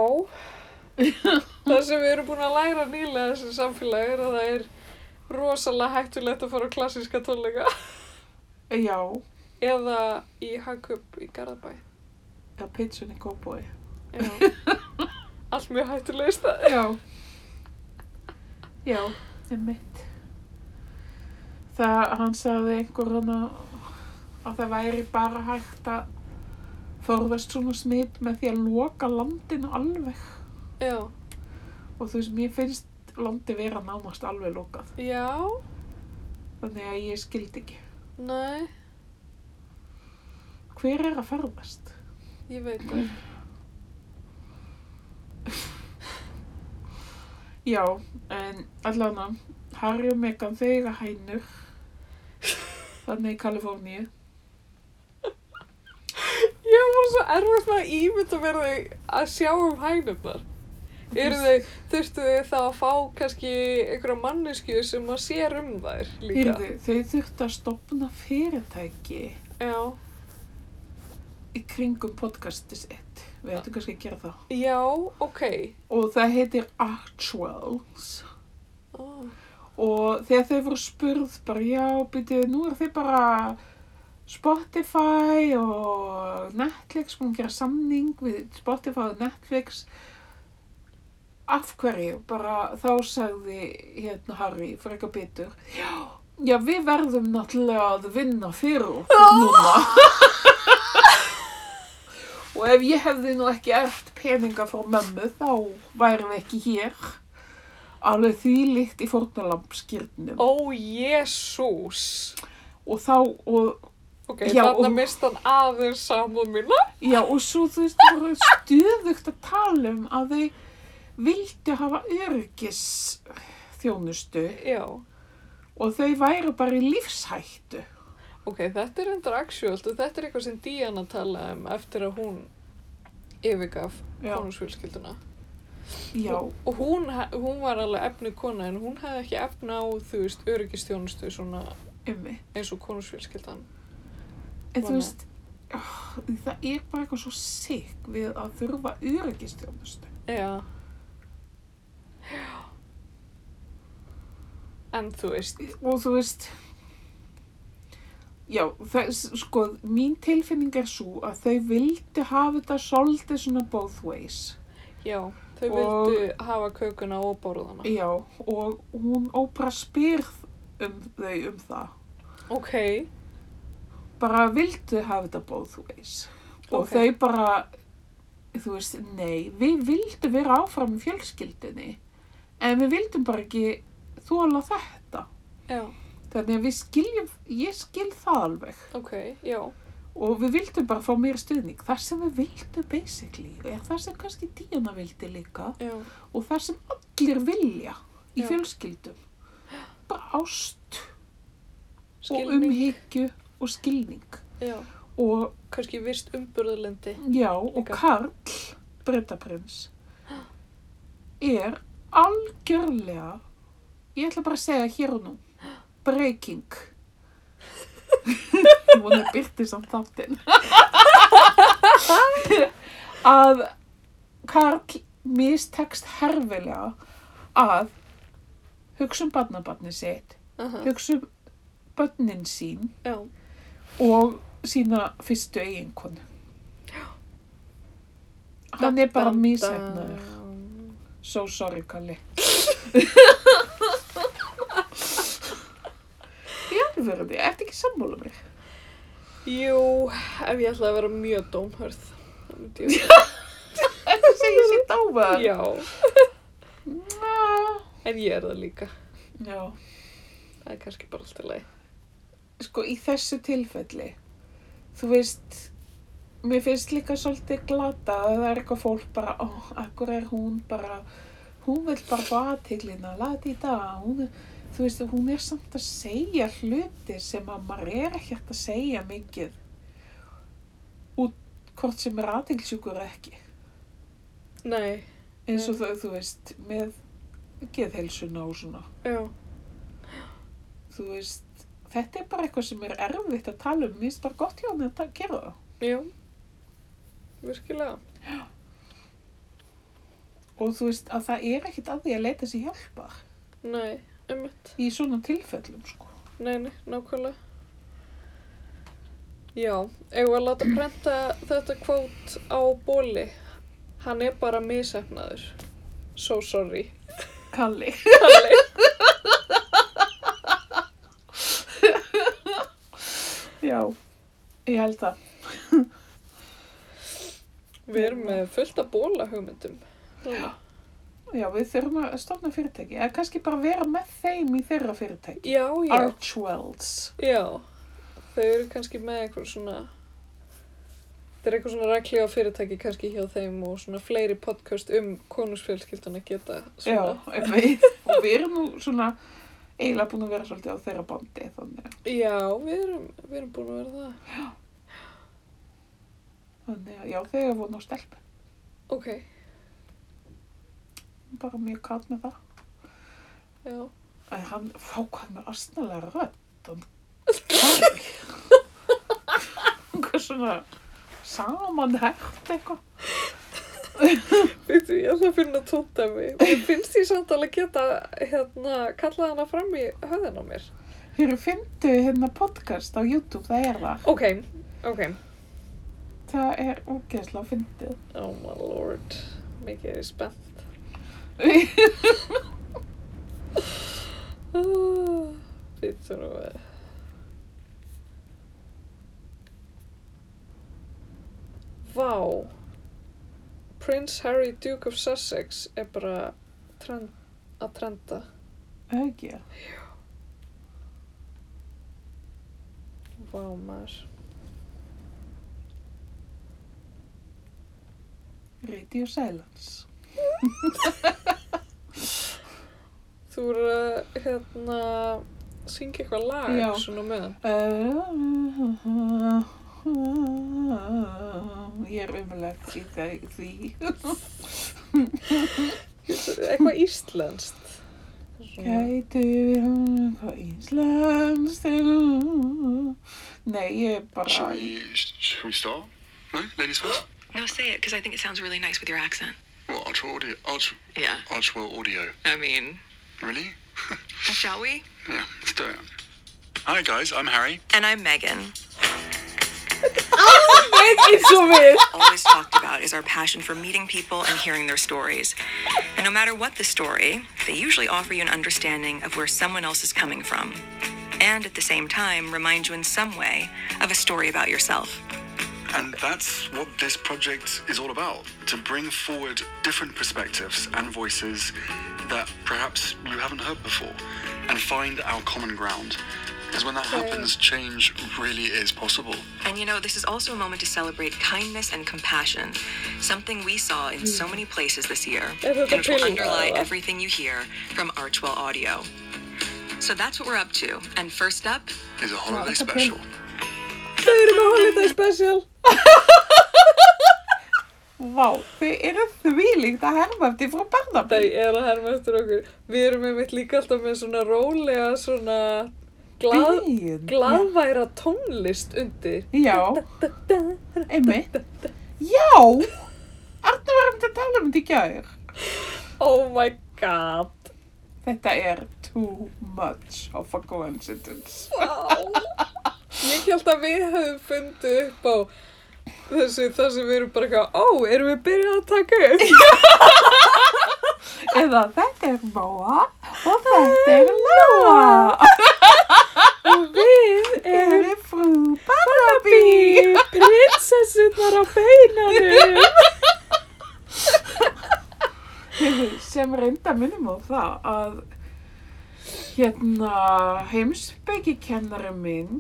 Speaker 2: það sem við erum búin að læra nýlega í þessu samfélagi er að það er rosalega hættulegt að fara á klassíska tónleika
Speaker 1: Já,
Speaker 2: eða í Hagkjöp í Garðabæ.
Speaker 1: það pitsun í kópói.
Speaker 2: Já. Allt mjög hættulega staði.
Speaker 1: Já. Já, einmitt. Það, hann sagði einhver hann að það væri bara hægt að forðast svona smitt með því að loka landinu alveg.
Speaker 2: Já.
Speaker 1: Og þú veist, mér finnst landi vera nánast alveg lokað.
Speaker 2: Já,
Speaker 1: Þannig að ég skildi ekki.
Speaker 2: nei,
Speaker 1: Hver er að ferðast?
Speaker 2: ég veit það.
Speaker 1: Já, en allan að Harry og Meghan þau eiga hænur. Þannig í Kaliforníu.
Speaker 2: Ég var bara svo erfitt með að ímynda mér þau að sjá um hænurnar. Eru þau, þurftu þau þá að fá kannski einhverja mannesku sem að sér um þær líka?
Speaker 1: Hyrðu, þau þurftu að stopna fyrirtæki
Speaker 2: Já.
Speaker 1: í kringum podcastið sitt. Við ættum kannski að gera það.
Speaker 2: Já, ok.
Speaker 1: Og það heitir Actuals
Speaker 2: Oh.
Speaker 1: og þegar þau voru spurð bara já, byrju, nú er þau bara Spotify og Netflix, búin að gera samning við Spotify og Netflix af hverju, bara þá sagði hérna Harry, frekar bitur já, já, við verðum náttúrulega að vinna fyrir okkur núna Og ef ég hefði nú ekki eft peninga frá mömmu þá værum við ekki hér. Alveg þvílíkt í fórnalampskýrnum.
Speaker 2: Ó, jésús.
Speaker 1: Og þá, og,
Speaker 2: Ok,
Speaker 1: Já,
Speaker 2: þarna
Speaker 1: og-
Speaker 2: mist hann aðeins samúð mína.
Speaker 1: já, og svo þú veist, það voru stuðugt að tala um að þau vildu hafa örgis þjónustu
Speaker 2: Já,
Speaker 1: og þau væru bara í lífshættu.
Speaker 2: ok, þetta er endur aksjólt og þetta er eitthvað sem Diana talaði um eftir að hún yfirgaf
Speaker 1: Já,
Speaker 2: konungsfjölskylduna.
Speaker 1: já,
Speaker 2: Og hún, ha- hún var alveg efnu kona en hún hefði ekki efna á, þú veist, öryggistjónustu svona
Speaker 1: ummi.
Speaker 2: eins og konungsfjölskyldan.
Speaker 1: En þú
Speaker 2: Vona.
Speaker 1: veist, ah, það er bara eitthvað svo sikk við að þurfa örgis þjónustu.
Speaker 2: Já. En þú veist,
Speaker 1: og þú veist já, þess, sko mín tilfinning er svo að þau vildu hafa þetta svolítið svona both ways
Speaker 2: já, þau
Speaker 1: Og-
Speaker 2: vildu hafa kökuna og borðana.
Speaker 1: já, og hún óbra spyr um þau um það
Speaker 2: Ok,
Speaker 1: bara vildu hafa þetta both ways og
Speaker 2: Ok.
Speaker 1: þau bara þú veist, nei, við vildum vera áfram í fjölskyldinni en við vildum bara ekki þóla þetta
Speaker 2: já,
Speaker 1: þannig að við skiljum, ég skil það alveg
Speaker 2: ok, já,
Speaker 1: og við vildum bara fá meira stuðning það sem við vildum basically er það sem kannski Díana vildi líka
Speaker 2: já, um
Speaker 1: og það sem allir vilja í
Speaker 2: Já.
Speaker 1: fjölskyldum bara ást og
Speaker 2: skilning,
Speaker 1: umhyggju og skilning
Speaker 2: já,
Speaker 1: og
Speaker 2: kannski vist umburðalendi.
Speaker 1: já og
Speaker 2: Líka.
Speaker 1: Karl Bretaprins er algjörlega ég ætla bara að segja hér og nú breaking hún er byrtið samt þáttinn að Karl mistekst herfilega að hugsa um barnabarni sitt,
Speaker 2: Aha,
Speaker 1: hugsa um börnin sín
Speaker 2: já,
Speaker 1: og sína fyrstu eiginkonu. Hann er bara
Speaker 2: Dun, dun,
Speaker 1: mísæfnaður.
Speaker 2: dun.
Speaker 1: So sorry, Kalli. Í alvörunni, ertu ekki sammála mér?
Speaker 2: Jú, ef ég ætla að vera mjög dómhörð, þá myndi ég,
Speaker 1: Ertu að segja sér dávar?
Speaker 2: já,
Speaker 1: Já.
Speaker 2: en ég er það líka.
Speaker 1: Já.
Speaker 2: Það er kannski bara allt í lagi.
Speaker 1: sko í þessu tilfelli þú veist mér finnst líka svolítið glata að það er eitthvað fólk bara ó, akkur er hún bara hún vil bara fá aðtiklina, lati í dag hún, er- þú veist, hún er samt að segja hluti sem að maður er ekkert að segja mikið út hvort sem er aðtilsjúkur ekki
Speaker 2: Nei,
Speaker 1: eins og þau, þú veist, með geðhelsuna og svona
Speaker 2: já,
Speaker 1: þú veist, þetta er bara eitthvað sem er erfitt að tala um, mér finnst bara gott hjá hann að gera það
Speaker 2: já, virkilega.
Speaker 1: og þú veist að það er ekkit að því að leita sér hjálpar
Speaker 2: Nei, ummitt.
Speaker 1: í svona tilfellum sko.
Speaker 2: Nei, nei, nákvæmlega. Já, eigum við að láta prenta þetta kvót á bóli. Hann er bara misefnaður. So sorry.
Speaker 1: Kalli.
Speaker 2: Kalli.
Speaker 1: Já. Ég held það.
Speaker 2: Við erum með fullt af bóla hugmyndum. Já.
Speaker 1: Já, við þurfum að stofna fyrirtæki. Eða kannski bara vera með þeim í þeirra fyrirtæki.
Speaker 2: Já, já.
Speaker 1: Archwells.
Speaker 2: Já. Þau eru kannski með eitthvað svona... Það er eitthvað svona regli á fyrirtæki kannski hjá þeim og svona fleiri podcast um konusfjölskyldana geta
Speaker 1: Já,
Speaker 2: svona...
Speaker 1: ef við. og við erum nú svona eiginlega búin að vera svolítið á þeirra bandi. Þannig,
Speaker 2: Já, við, erum, við erum búin að vera það.
Speaker 1: þannig að já, þau er vona á stelp.
Speaker 2: Ok,
Speaker 1: Bara mjög kalt með það.
Speaker 2: já.
Speaker 1: En hann fá hvað með astnalega rödd. Hann Hvað svona samanhægt eitthvað.
Speaker 2: Veitu, ég ætla að finna tóndæmi. Mér finnst ég samt alveg geta, hérna, kallað hana fram í höðin á mér.
Speaker 1: Þeir findu hérna podcast á YouTube, það er það.
Speaker 2: Ok, ok.
Speaker 1: Það er ógeðslega fyndið.
Speaker 2: Oh my lord, mikið er ég spennt. Veitu nú að... Vá. Prince Harry, Duke of Sussex er bara trend, að trenda.
Speaker 1: Það ekki.
Speaker 2: Vá maður.
Speaker 1: Radio Silence.
Speaker 2: Þú voru að, hérna, syngja eitthvað lag,
Speaker 1: Já.
Speaker 2: svona á meðan.
Speaker 1: Uh, Ég er umlegt í þau- því.
Speaker 2: Eitthvað íslenskt. Svona-
Speaker 1: Gætu við hún hvað íslenskt er nú? Nei, ég er
Speaker 4: Should
Speaker 1: bara...
Speaker 4: we, should we start? No? Ladies first?
Speaker 5: No, say it because I think it sounds really nice with your accent.
Speaker 4: What, Ultra Audio? Ultra,
Speaker 5: Yeah,
Speaker 4: ultra Audio.
Speaker 5: I mean,
Speaker 4: Really?
Speaker 5: shall we?
Speaker 4: Yeah, let's do it. Hi guys, I'm Harry.
Speaker 5: And I'm Megan.
Speaker 2: Veit eins og við.
Speaker 5: Always talked about is our passion for meeting people and hearing their stories. And no matter what the story, they usually offer you an understanding of where someone else is coming from. And at the same time, remind you in some way of a story about yourself.
Speaker 4: And that's what this project is all about to bring forward different perspectives and voices that perhaps you haven't heard before and find our common ground. Because when that happens, change really is possible.
Speaker 5: And you know, this is also a moment to celebrate kindness and compassion, something we saw in so many places this year,
Speaker 2: It was
Speaker 5: and which will
Speaker 2: appealing,
Speaker 5: underlie
Speaker 2: Lala.
Speaker 5: everything you hear from Archwell Audio. So that's what we're up to. And first up,
Speaker 4: Is a holiday
Speaker 1: that's a
Speaker 4: special.
Speaker 2: Þau eru með holiday special.
Speaker 1: Vá, þau eru þvílíkt að herma eftir frá
Speaker 2: Þau
Speaker 1: barnabíl.
Speaker 2: eru að herma eftir okkur. Við erum einmitt líka alltaf með svona rólega, svona glað,
Speaker 1: Byrjun,
Speaker 2: glaðværa tónlist undir.
Speaker 1: Já,
Speaker 2: Da, da.
Speaker 1: einmitt. Já, Arna var um þetta að tala um þetta í gær.
Speaker 2: Oh my god.
Speaker 1: Þetta er too much of a coincidence.
Speaker 2: Vá. Ég held að við höfum fundið upp á þessu, þar sem við erum bara eitthvað, ó, erum við byrjað að taka upp?
Speaker 1: Eða þetta er Móa og þetta er Lóa.
Speaker 2: Við
Speaker 1: Þeir
Speaker 2: erum
Speaker 1: eru frú barnabíl.
Speaker 2: prinsessunar á beinanum.
Speaker 1: sem reynda minnum á það að hérna heimsbyggikennarum minn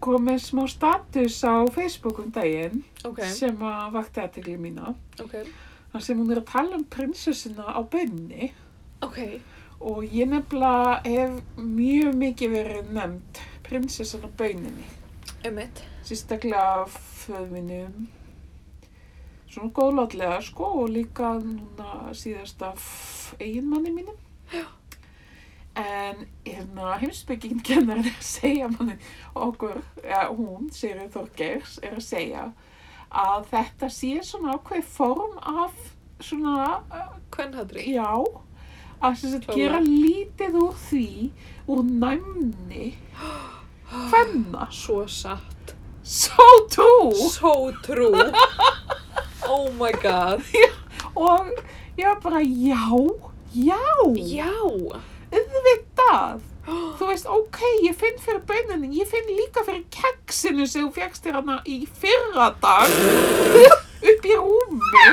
Speaker 1: kom með smá status á Facebook um daginn
Speaker 2: Ok,
Speaker 1: sem að vakti aðtegli mína
Speaker 2: ok,
Speaker 1: þar sem hún er að tala um prinsessuna á bönni
Speaker 2: ok.
Speaker 1: og ég nefnilega hef mjög mikið verið nefnd prinsessan á bönninni
Speaker 2: Emmett.
Speaker 1: sérstaklega af föður mínum svona góðlátlega sko og líka núna síðast af eiginmanni mínum en hérna heimsbyggingin kennar er að segja manni okkur, ja, hún, Sigurður Þorgeirs er að segja að þetta sé svona ákveð form af svona uh,
Speaker 2: Kvennhadri.
Speaker 1: Já, að sem sagt
Speaker 2: Klára.
Speaker 1: gera lítið úr því úr næmni hvenna
Speaker 2: Svo satt.
Speaker 1: So true
Speaker 2: Svo trú. Oh my god.
Speaker 1: Og ég var bara já, já,
Speaker 2: Já.
Speaker 1: auðvitað Þú veist, ok, ég finn fyrir bönninni, ég finn líka fyrir keksinu sem þú fegst þér hana í fyrra dag upp í rúmi.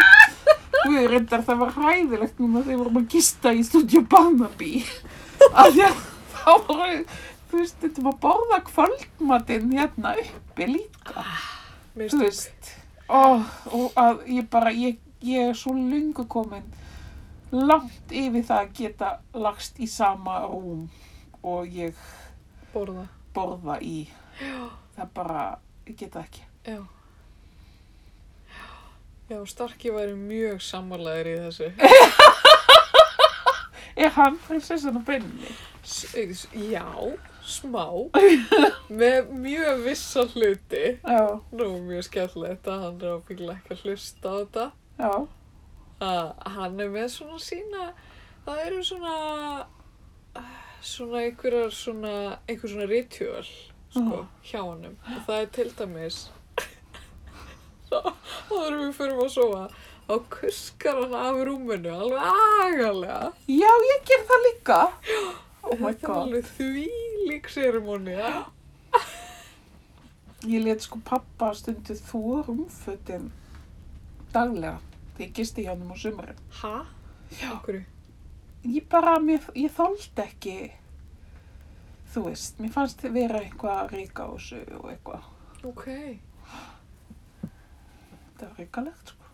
Speaker 1: Guður, reyndar, það var hræðilegt núna þegar við vorum að gista í stúdíu Barnaby. Af því að þá voru, þú veist, þetta var borða kvöldmatinn hérna uppi líka.
Speaker 2: Mér
Speaker 1: Þú
Speaker 2: finnst
Speaker 1: veist, ó, og að ég bara, ég, ég er svo lungu komin langt yfir það að geta lagst í sama rúm og ég
Speaker 2: borða.
Speaker 1: borða í. Það bara, ég geta ekki.
Speaker 2: Já. Já, Starki væri mjög sammálaður í þessu.
Speaker 1: Er hann prinsessan á beinni?
Speaker 2: S s- já, smá. Með mjög vissa hluti.
Speaker 1: Já,
Speaker 2: Nú, mjög skemmtilegt að hann er ábyggilega ekki að hlusta á þetta.
Speaker 1: já.
Speaker 2: að hann er með svona sína það eru svona svona einhverjar svona einhver svona ritual sko, hjá honum og það er til dæmis þá erum við fyrir að sofa þá kuskar hann af rúminu alveg agalega
Speaker 1: Já, ég ger það líka. Oh my
Speaker 2: þetta er
Speaker 1: god.
Speaker 2: alveg því lík sérimóni
Speaker 1: Ég let sko pappa stundu þú rúmfötin daglega þegar ég gisti hjá hann á sumurinn.
Speaker 2: ha? já okkur
Speaker 1: Ég bara, mér, ég þoldi ekki, þú veist, mér fannst þið vera eitthvað að reyka á þessu og eitthvað.
Speaker 2: ok
Speaker 1: Þetta var reykalegt sko.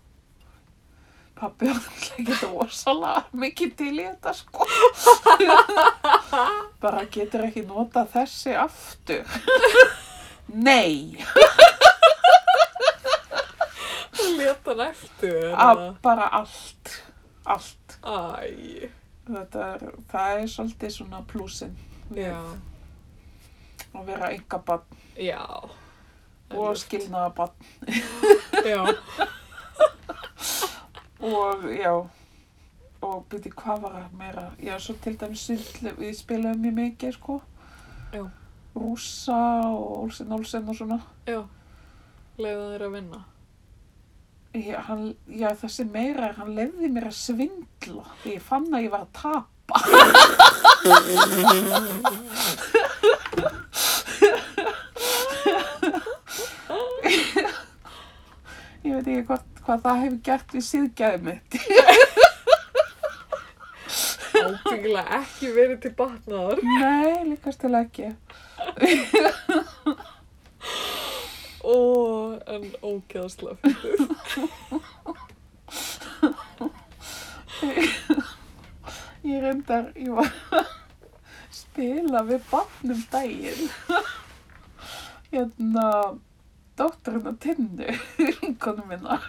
Speaker 1: Pappi var alltaf ekki rosalega mikið til í þetta sko. bara getur ekki nota þessi aftur. Nei.
Speaker 2: leta hann eftir
Speaker 1: að
Speaker 2: eða?
Speaker 1: bara allt allt
Speaker 2: æ
Speaker 1: þetta er, það er svolítið svona plúsin við
Speaker 2: já
Speaker 1: að vera yngabann
Speaker 2: já
Speaker 1: og skilnaðabann
Speaker 2: já
Speaker 1: og já og byrju hvað var að meira já svo til dæmis sundlu- við spilaðum mjög mikið sko
Speaker 2: Já.
Speaker 1: rússa og Olsen Olsen og svona
Speaker 2: Já, leiða þér að vinna.
Speaker 1: já, hann, já þessi meira er hann leiði mér að svindla því ég fann að ég var að tapa ég veit ekki hvað, hvað það hefur gert við síðgæðið mitt
Speaker 2: Ábyggilega ekki verið til batnaðar.
Speaker 1: nei, líkast til ekki
Speaker 2: Ó, en ógeðslega fyrir.
Speaker 1: ég reyndar, ég var að spila við barnum daginn hérna dótturinn á tinnu vinkonu minna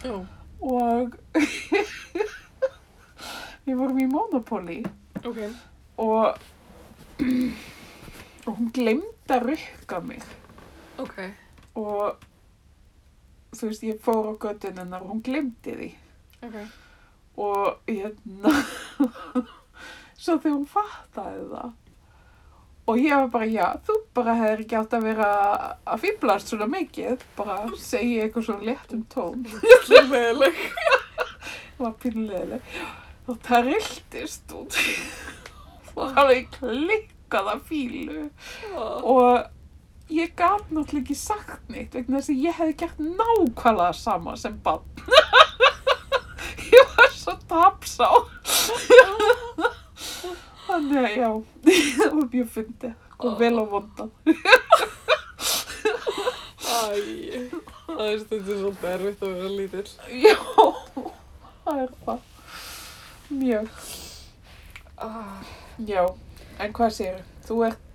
Speaker 2: Já,
Speaker 1: og við vorum í Monopoly
Speaker 2: ok.
Speaker 1: og, og hún glemd að rukka mig
Speaker 2: Ok,
Speaker 1: og þú veist ég fór á göttun hennar og hún glemdi því
Speaker 2: ok.
Speaker 1: og hérna svo þegar hún fattaði það og ég var bara já, þú bara hefur ekki átt að vera að fýblast svona mikið bara segi ég eitthvað svona léttum tón
Speaker 2: Leðileg.
Speaker 1: var pínlegileg og það rildist út og hann er klikkað af fílu og ég gat náttúrulega ekki sagt neitt vegna þess að ég hefði gert nákvæmlega sama sem bann ég var svo tapsá þannig að já það var mjög fyndið og vel á vondan
Speaker 2: Æ, það er stundum svolítið erfitt að vera lítill.
Speaker 1: já, það er það mjög
Speaker 2: Ah,
Speaker 1: Já, en hvað séu? Þú ert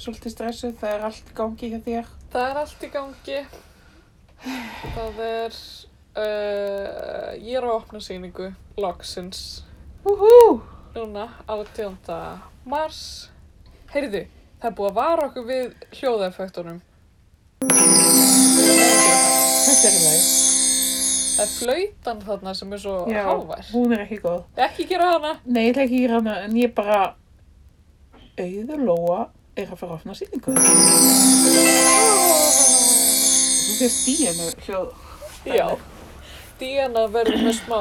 Speaker 1: svolítið stressuð, það er allt í gangi hjá þér.
Speaker 2: það er allt í gangi. Það er, uh, ég er að opna sýningu, loksins.
Speaker 1: Húhú!
Speaker 2: núna 18. mars heyrðu, það er búið að vara okkur við hljóðaeffektunum þetta er leið það er flautan þarna sem er svo
Speaker 1: Já,
Speaker 2: hávær
Speaker 1: hún er ekki góð.
Speaker 2: ekki gera hana
Speaker 1: Nei, ég ætla ekki í hana, en ég bara... Auður Lóa er að fara að opna sýningu. Þú fyrst í hennu hljóð.
Speaker 2: já Diana verður með smá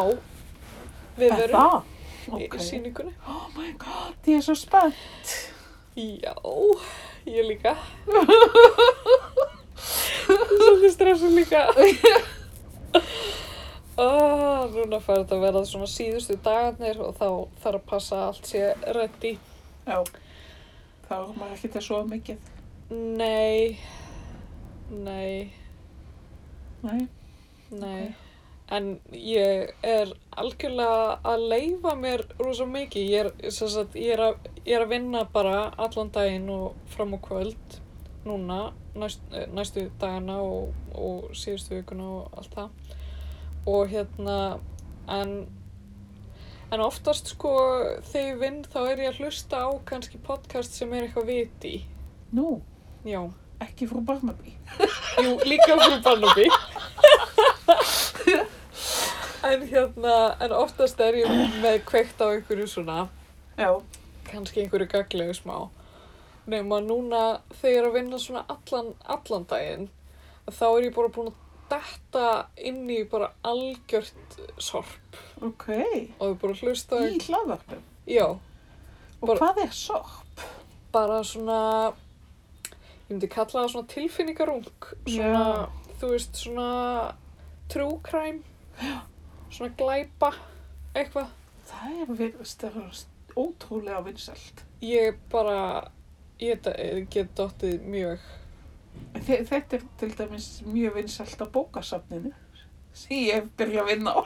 Speaker 2: við
Speaker 1: Er
Speaker 2: verum
Speaker 1: það?
Speaker 2: í
Speaker 1: Ok.
Speaker 2: sýningunni
Speaker 1: Oh my god, ég er svo spennt.
Speaker 2: já, ég líka svolítið stressum líka Oh, núna fær þetta að vera svona síðustu dagarnir og þá þarf að passa að allt sé ready.
Speaker 1: Já, þá er maður ekki til svo mikið.
Speaker 2: Nei, nei,
Speaker 1: Nei.
Speaker 2: nei. En ég er algjörlega að leifa mér rosa mikið. Ég er, sem sagt, ég, er að, ég er að vinna bara allan daginn og fram á kvöld núna, næst, eh, næstu dagana og, og síðustu vikuna og allt það. Og hérna, en, en oftast sko þegar ég vinn þá er ég að hlusta á kannski podcast sem er eitthvað viti.
Speaker 1: Nú,
Speaker 2: Já.
Speaker 1: ekki frú Barnaby.
Speaker 2: Jú, líka frú Barnaby. En hérna, en oftast er ég með kveikt á einhverju svona,
Speaker 1: Já,
Speaker 2: kannski einhverju gaglegu smá. Nefnum að núna þegar ég er að vinna svona allan, allan daginn, þá er ég bara búin að detta inn í bara algjört sorp
Speaker 1: ok.
Speaker 2: og ég er bara að hlusta á
Speaker 1: Í hlaðvarpum.
Speaker 2: Já,
Speaker 1: Og
Speaker 2: Bara-
Speaker 1: hvað er sorp?
Speaker 2: bara svona ég myndi kalla það svona tilfinningarung svona, þú veist, svona true crime svona glæpa eitthvað,
Speaker 1: Það er virðist að vera ótrúlega vinsalt.
Speaker 2: ég bara ég d- get dottið mjög
Speaker 1: Þe- Þetta er til dæmis mjög vinsalt á bókasafninu. Sí, ég hef byrjað að vinna á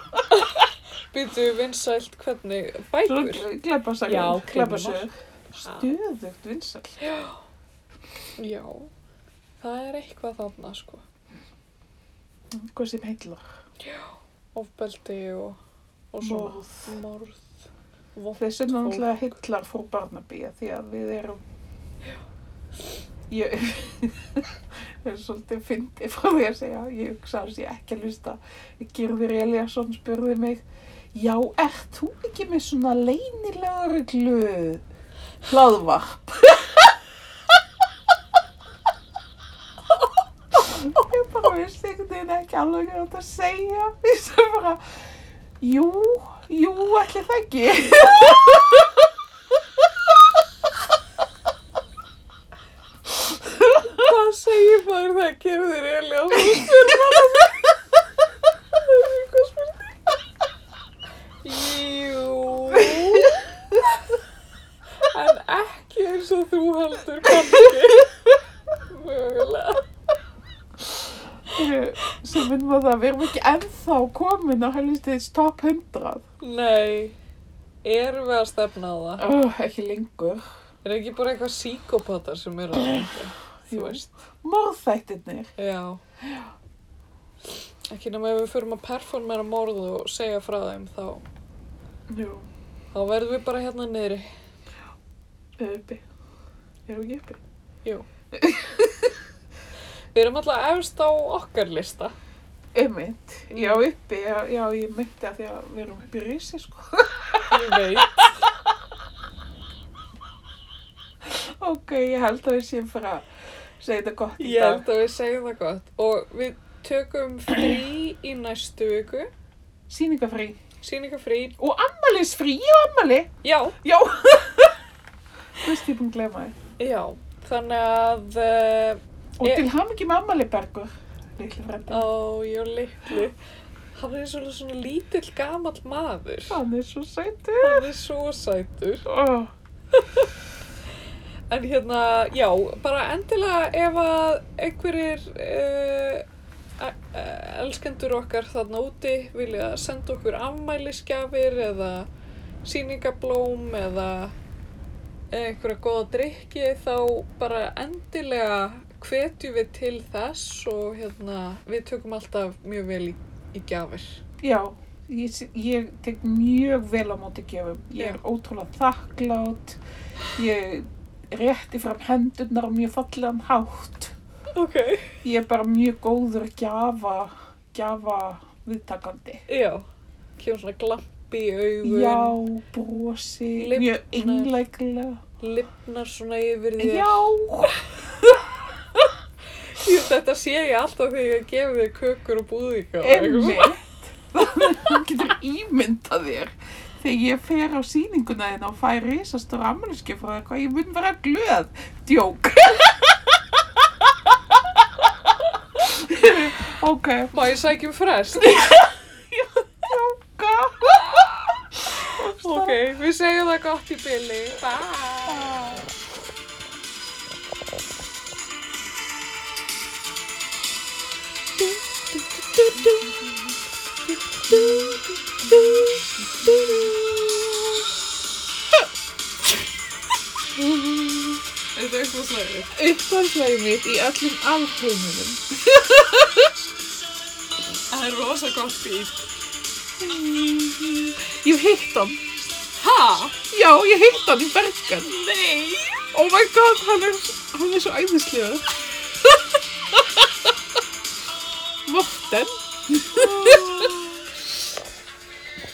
Speaker 2: býtu vinsælt hvernig bækur Já,
Speaker 1: glepasagur,
Speaker 2: krimma.
Speaker 1: glepasögur. Stöðugt vinsalt.
Speaker 2: já, það er eitthvað þarna sko,
Speaker 1: Hvað sem heillar.
Speaker 2: ofbeldi og, og svona
Speaker 1: Morð.
Speaker 2: morð, vond
Speaker 1: Þessi
Speaker 2: fólk.
Speaker 1: náttúrulega heillar frú Barnaby af því að við erum ég er svolítið fyndi frá því að segja ég hugsa þess ég ekki að hlusta Gyrðir Eliasson spurði mig Já, ert þú ekki með svona leynilega reglu hlaðvarp? og ég bara vissi einhvern veginn ekki alveg hvað þetta að segja. Ég sem bara, jú, jú, allir það ekki.
Speaker 2: Hvað segir maður það að gera þér Elja? Þú spyrir maður það. Það er eitthvað spurning. Jú. En ekki eins og þú heldur kannski. Mögulega.
Speaker 1: sem minnum að það, við erum ekki ennþá komin á helvistiðs top 100
Speaker 2: Nei. Erum við að stefna á það?
Speaker 1: oh, ekki lengur
Speaker 2: Er ekki bara eitthvað psíkopatar sem eru að það?
Speaker 1: þú veist, morðþættirnir
Speaker 2: Já. Ekki nema ef við förum að performera morð og segja frá þeim þá.
Speaker 1: Jú,
Speaker 2: Þá verðum við bara hérna niðri.
Speaker 1: eða uppi erum við ekki uppi?
Speaker 2: Við erum alltaf efst á okkar lista.
Speaker 1: Einmitt, já uppi, já, já ég myndi að því að við erum uppi í risi sko
Speaker 2: Ég veit.
Speaker 1: ok, ég held að við séum fyrir að segja þetta gott í
Speaker 2: Ég held að við segjum það gott. Og við tökum frí í næstu viku.
Speaker 1: dag sýningafrí
Speaker 2: Sýningafrí.
Speaker 1: og ammælisfrí, ég og ammæli
Speaker 2: Já.
Speaker 1: já veist ég búin að glema þið
Speaker 2: Já. Þannig að uh,
Speaker 1: og
Speaker 2: Ég-
Speaker 1: til hamingi með ammæli Bergur litli frændi,
Speaker 2: á ég litlu. Hann er svona, svona lítill gamall maður.
Speaker 1: hann er svo sætur
Speaker 2: Hann er svo sætur.
Speaker 1: Oh,
Speaker 2: En hérna, já, bara endilega ef að einhverjir uh, elskendur okkar þarna úti vilja senda okkur afmælisgjafir eða síningablóm eða einhverja góða drikki þá bara endilega hvetjum við til þess og hérna við tökum alltaf mjög vel í, í gjafir.
Speaker 1: já, ég, ég tek mjög vel á móti gefum. Ég er
Speaker 2: Já.
Speaker 1: ótrúlega þakklátt, ég rétti fram hendurnar á mjög fallegan hátt.
Speaker 2: Ok.
Speaker 1: Ég er bara mjög góður gjafa, gjafa viðtakandi.
Speaker 2: Já, kemur svona glampi í augun,
Speaker 1: Já, brosi,
Speaker 2: Lifnar.
Speaker 1: mjög einlæglega.
Speaker 2: lifnar svona yfir þér.
Speaker 1: Já,
Speaker 2: Ég, þetta sé ég alltaf þegar ég gefi þér kökur og búðíka og eitthvað svona.
Speaker 1: einmitt. Þannig að þú getur ímyndað þér. Þegar ég fer á sýninguna þinn og fæ risastur ammæliskei frá þér, hvað ég mun vera glöð. Djók. ok,
Speaker 2: Má ég sækjum frest?
Speaker 1: djóka.
Speaker 2: ok, við segjum það gott í bylli. Bye! Þetta er eitthvað slæðið.
Speaker 1: Uppáðslegið mitt í öllum alheiminum.
Speaker 2: Það er rosa gott bít.
Speaker 1: Ég hef hitt hann.
Speaker 2: Ha?
Speaker 1: Já, ég hef hitt hann í Bergen.
Speaker 2: Nei!
Speaker 1: Oh my god, hann er, hann er svo æðislega. Morten.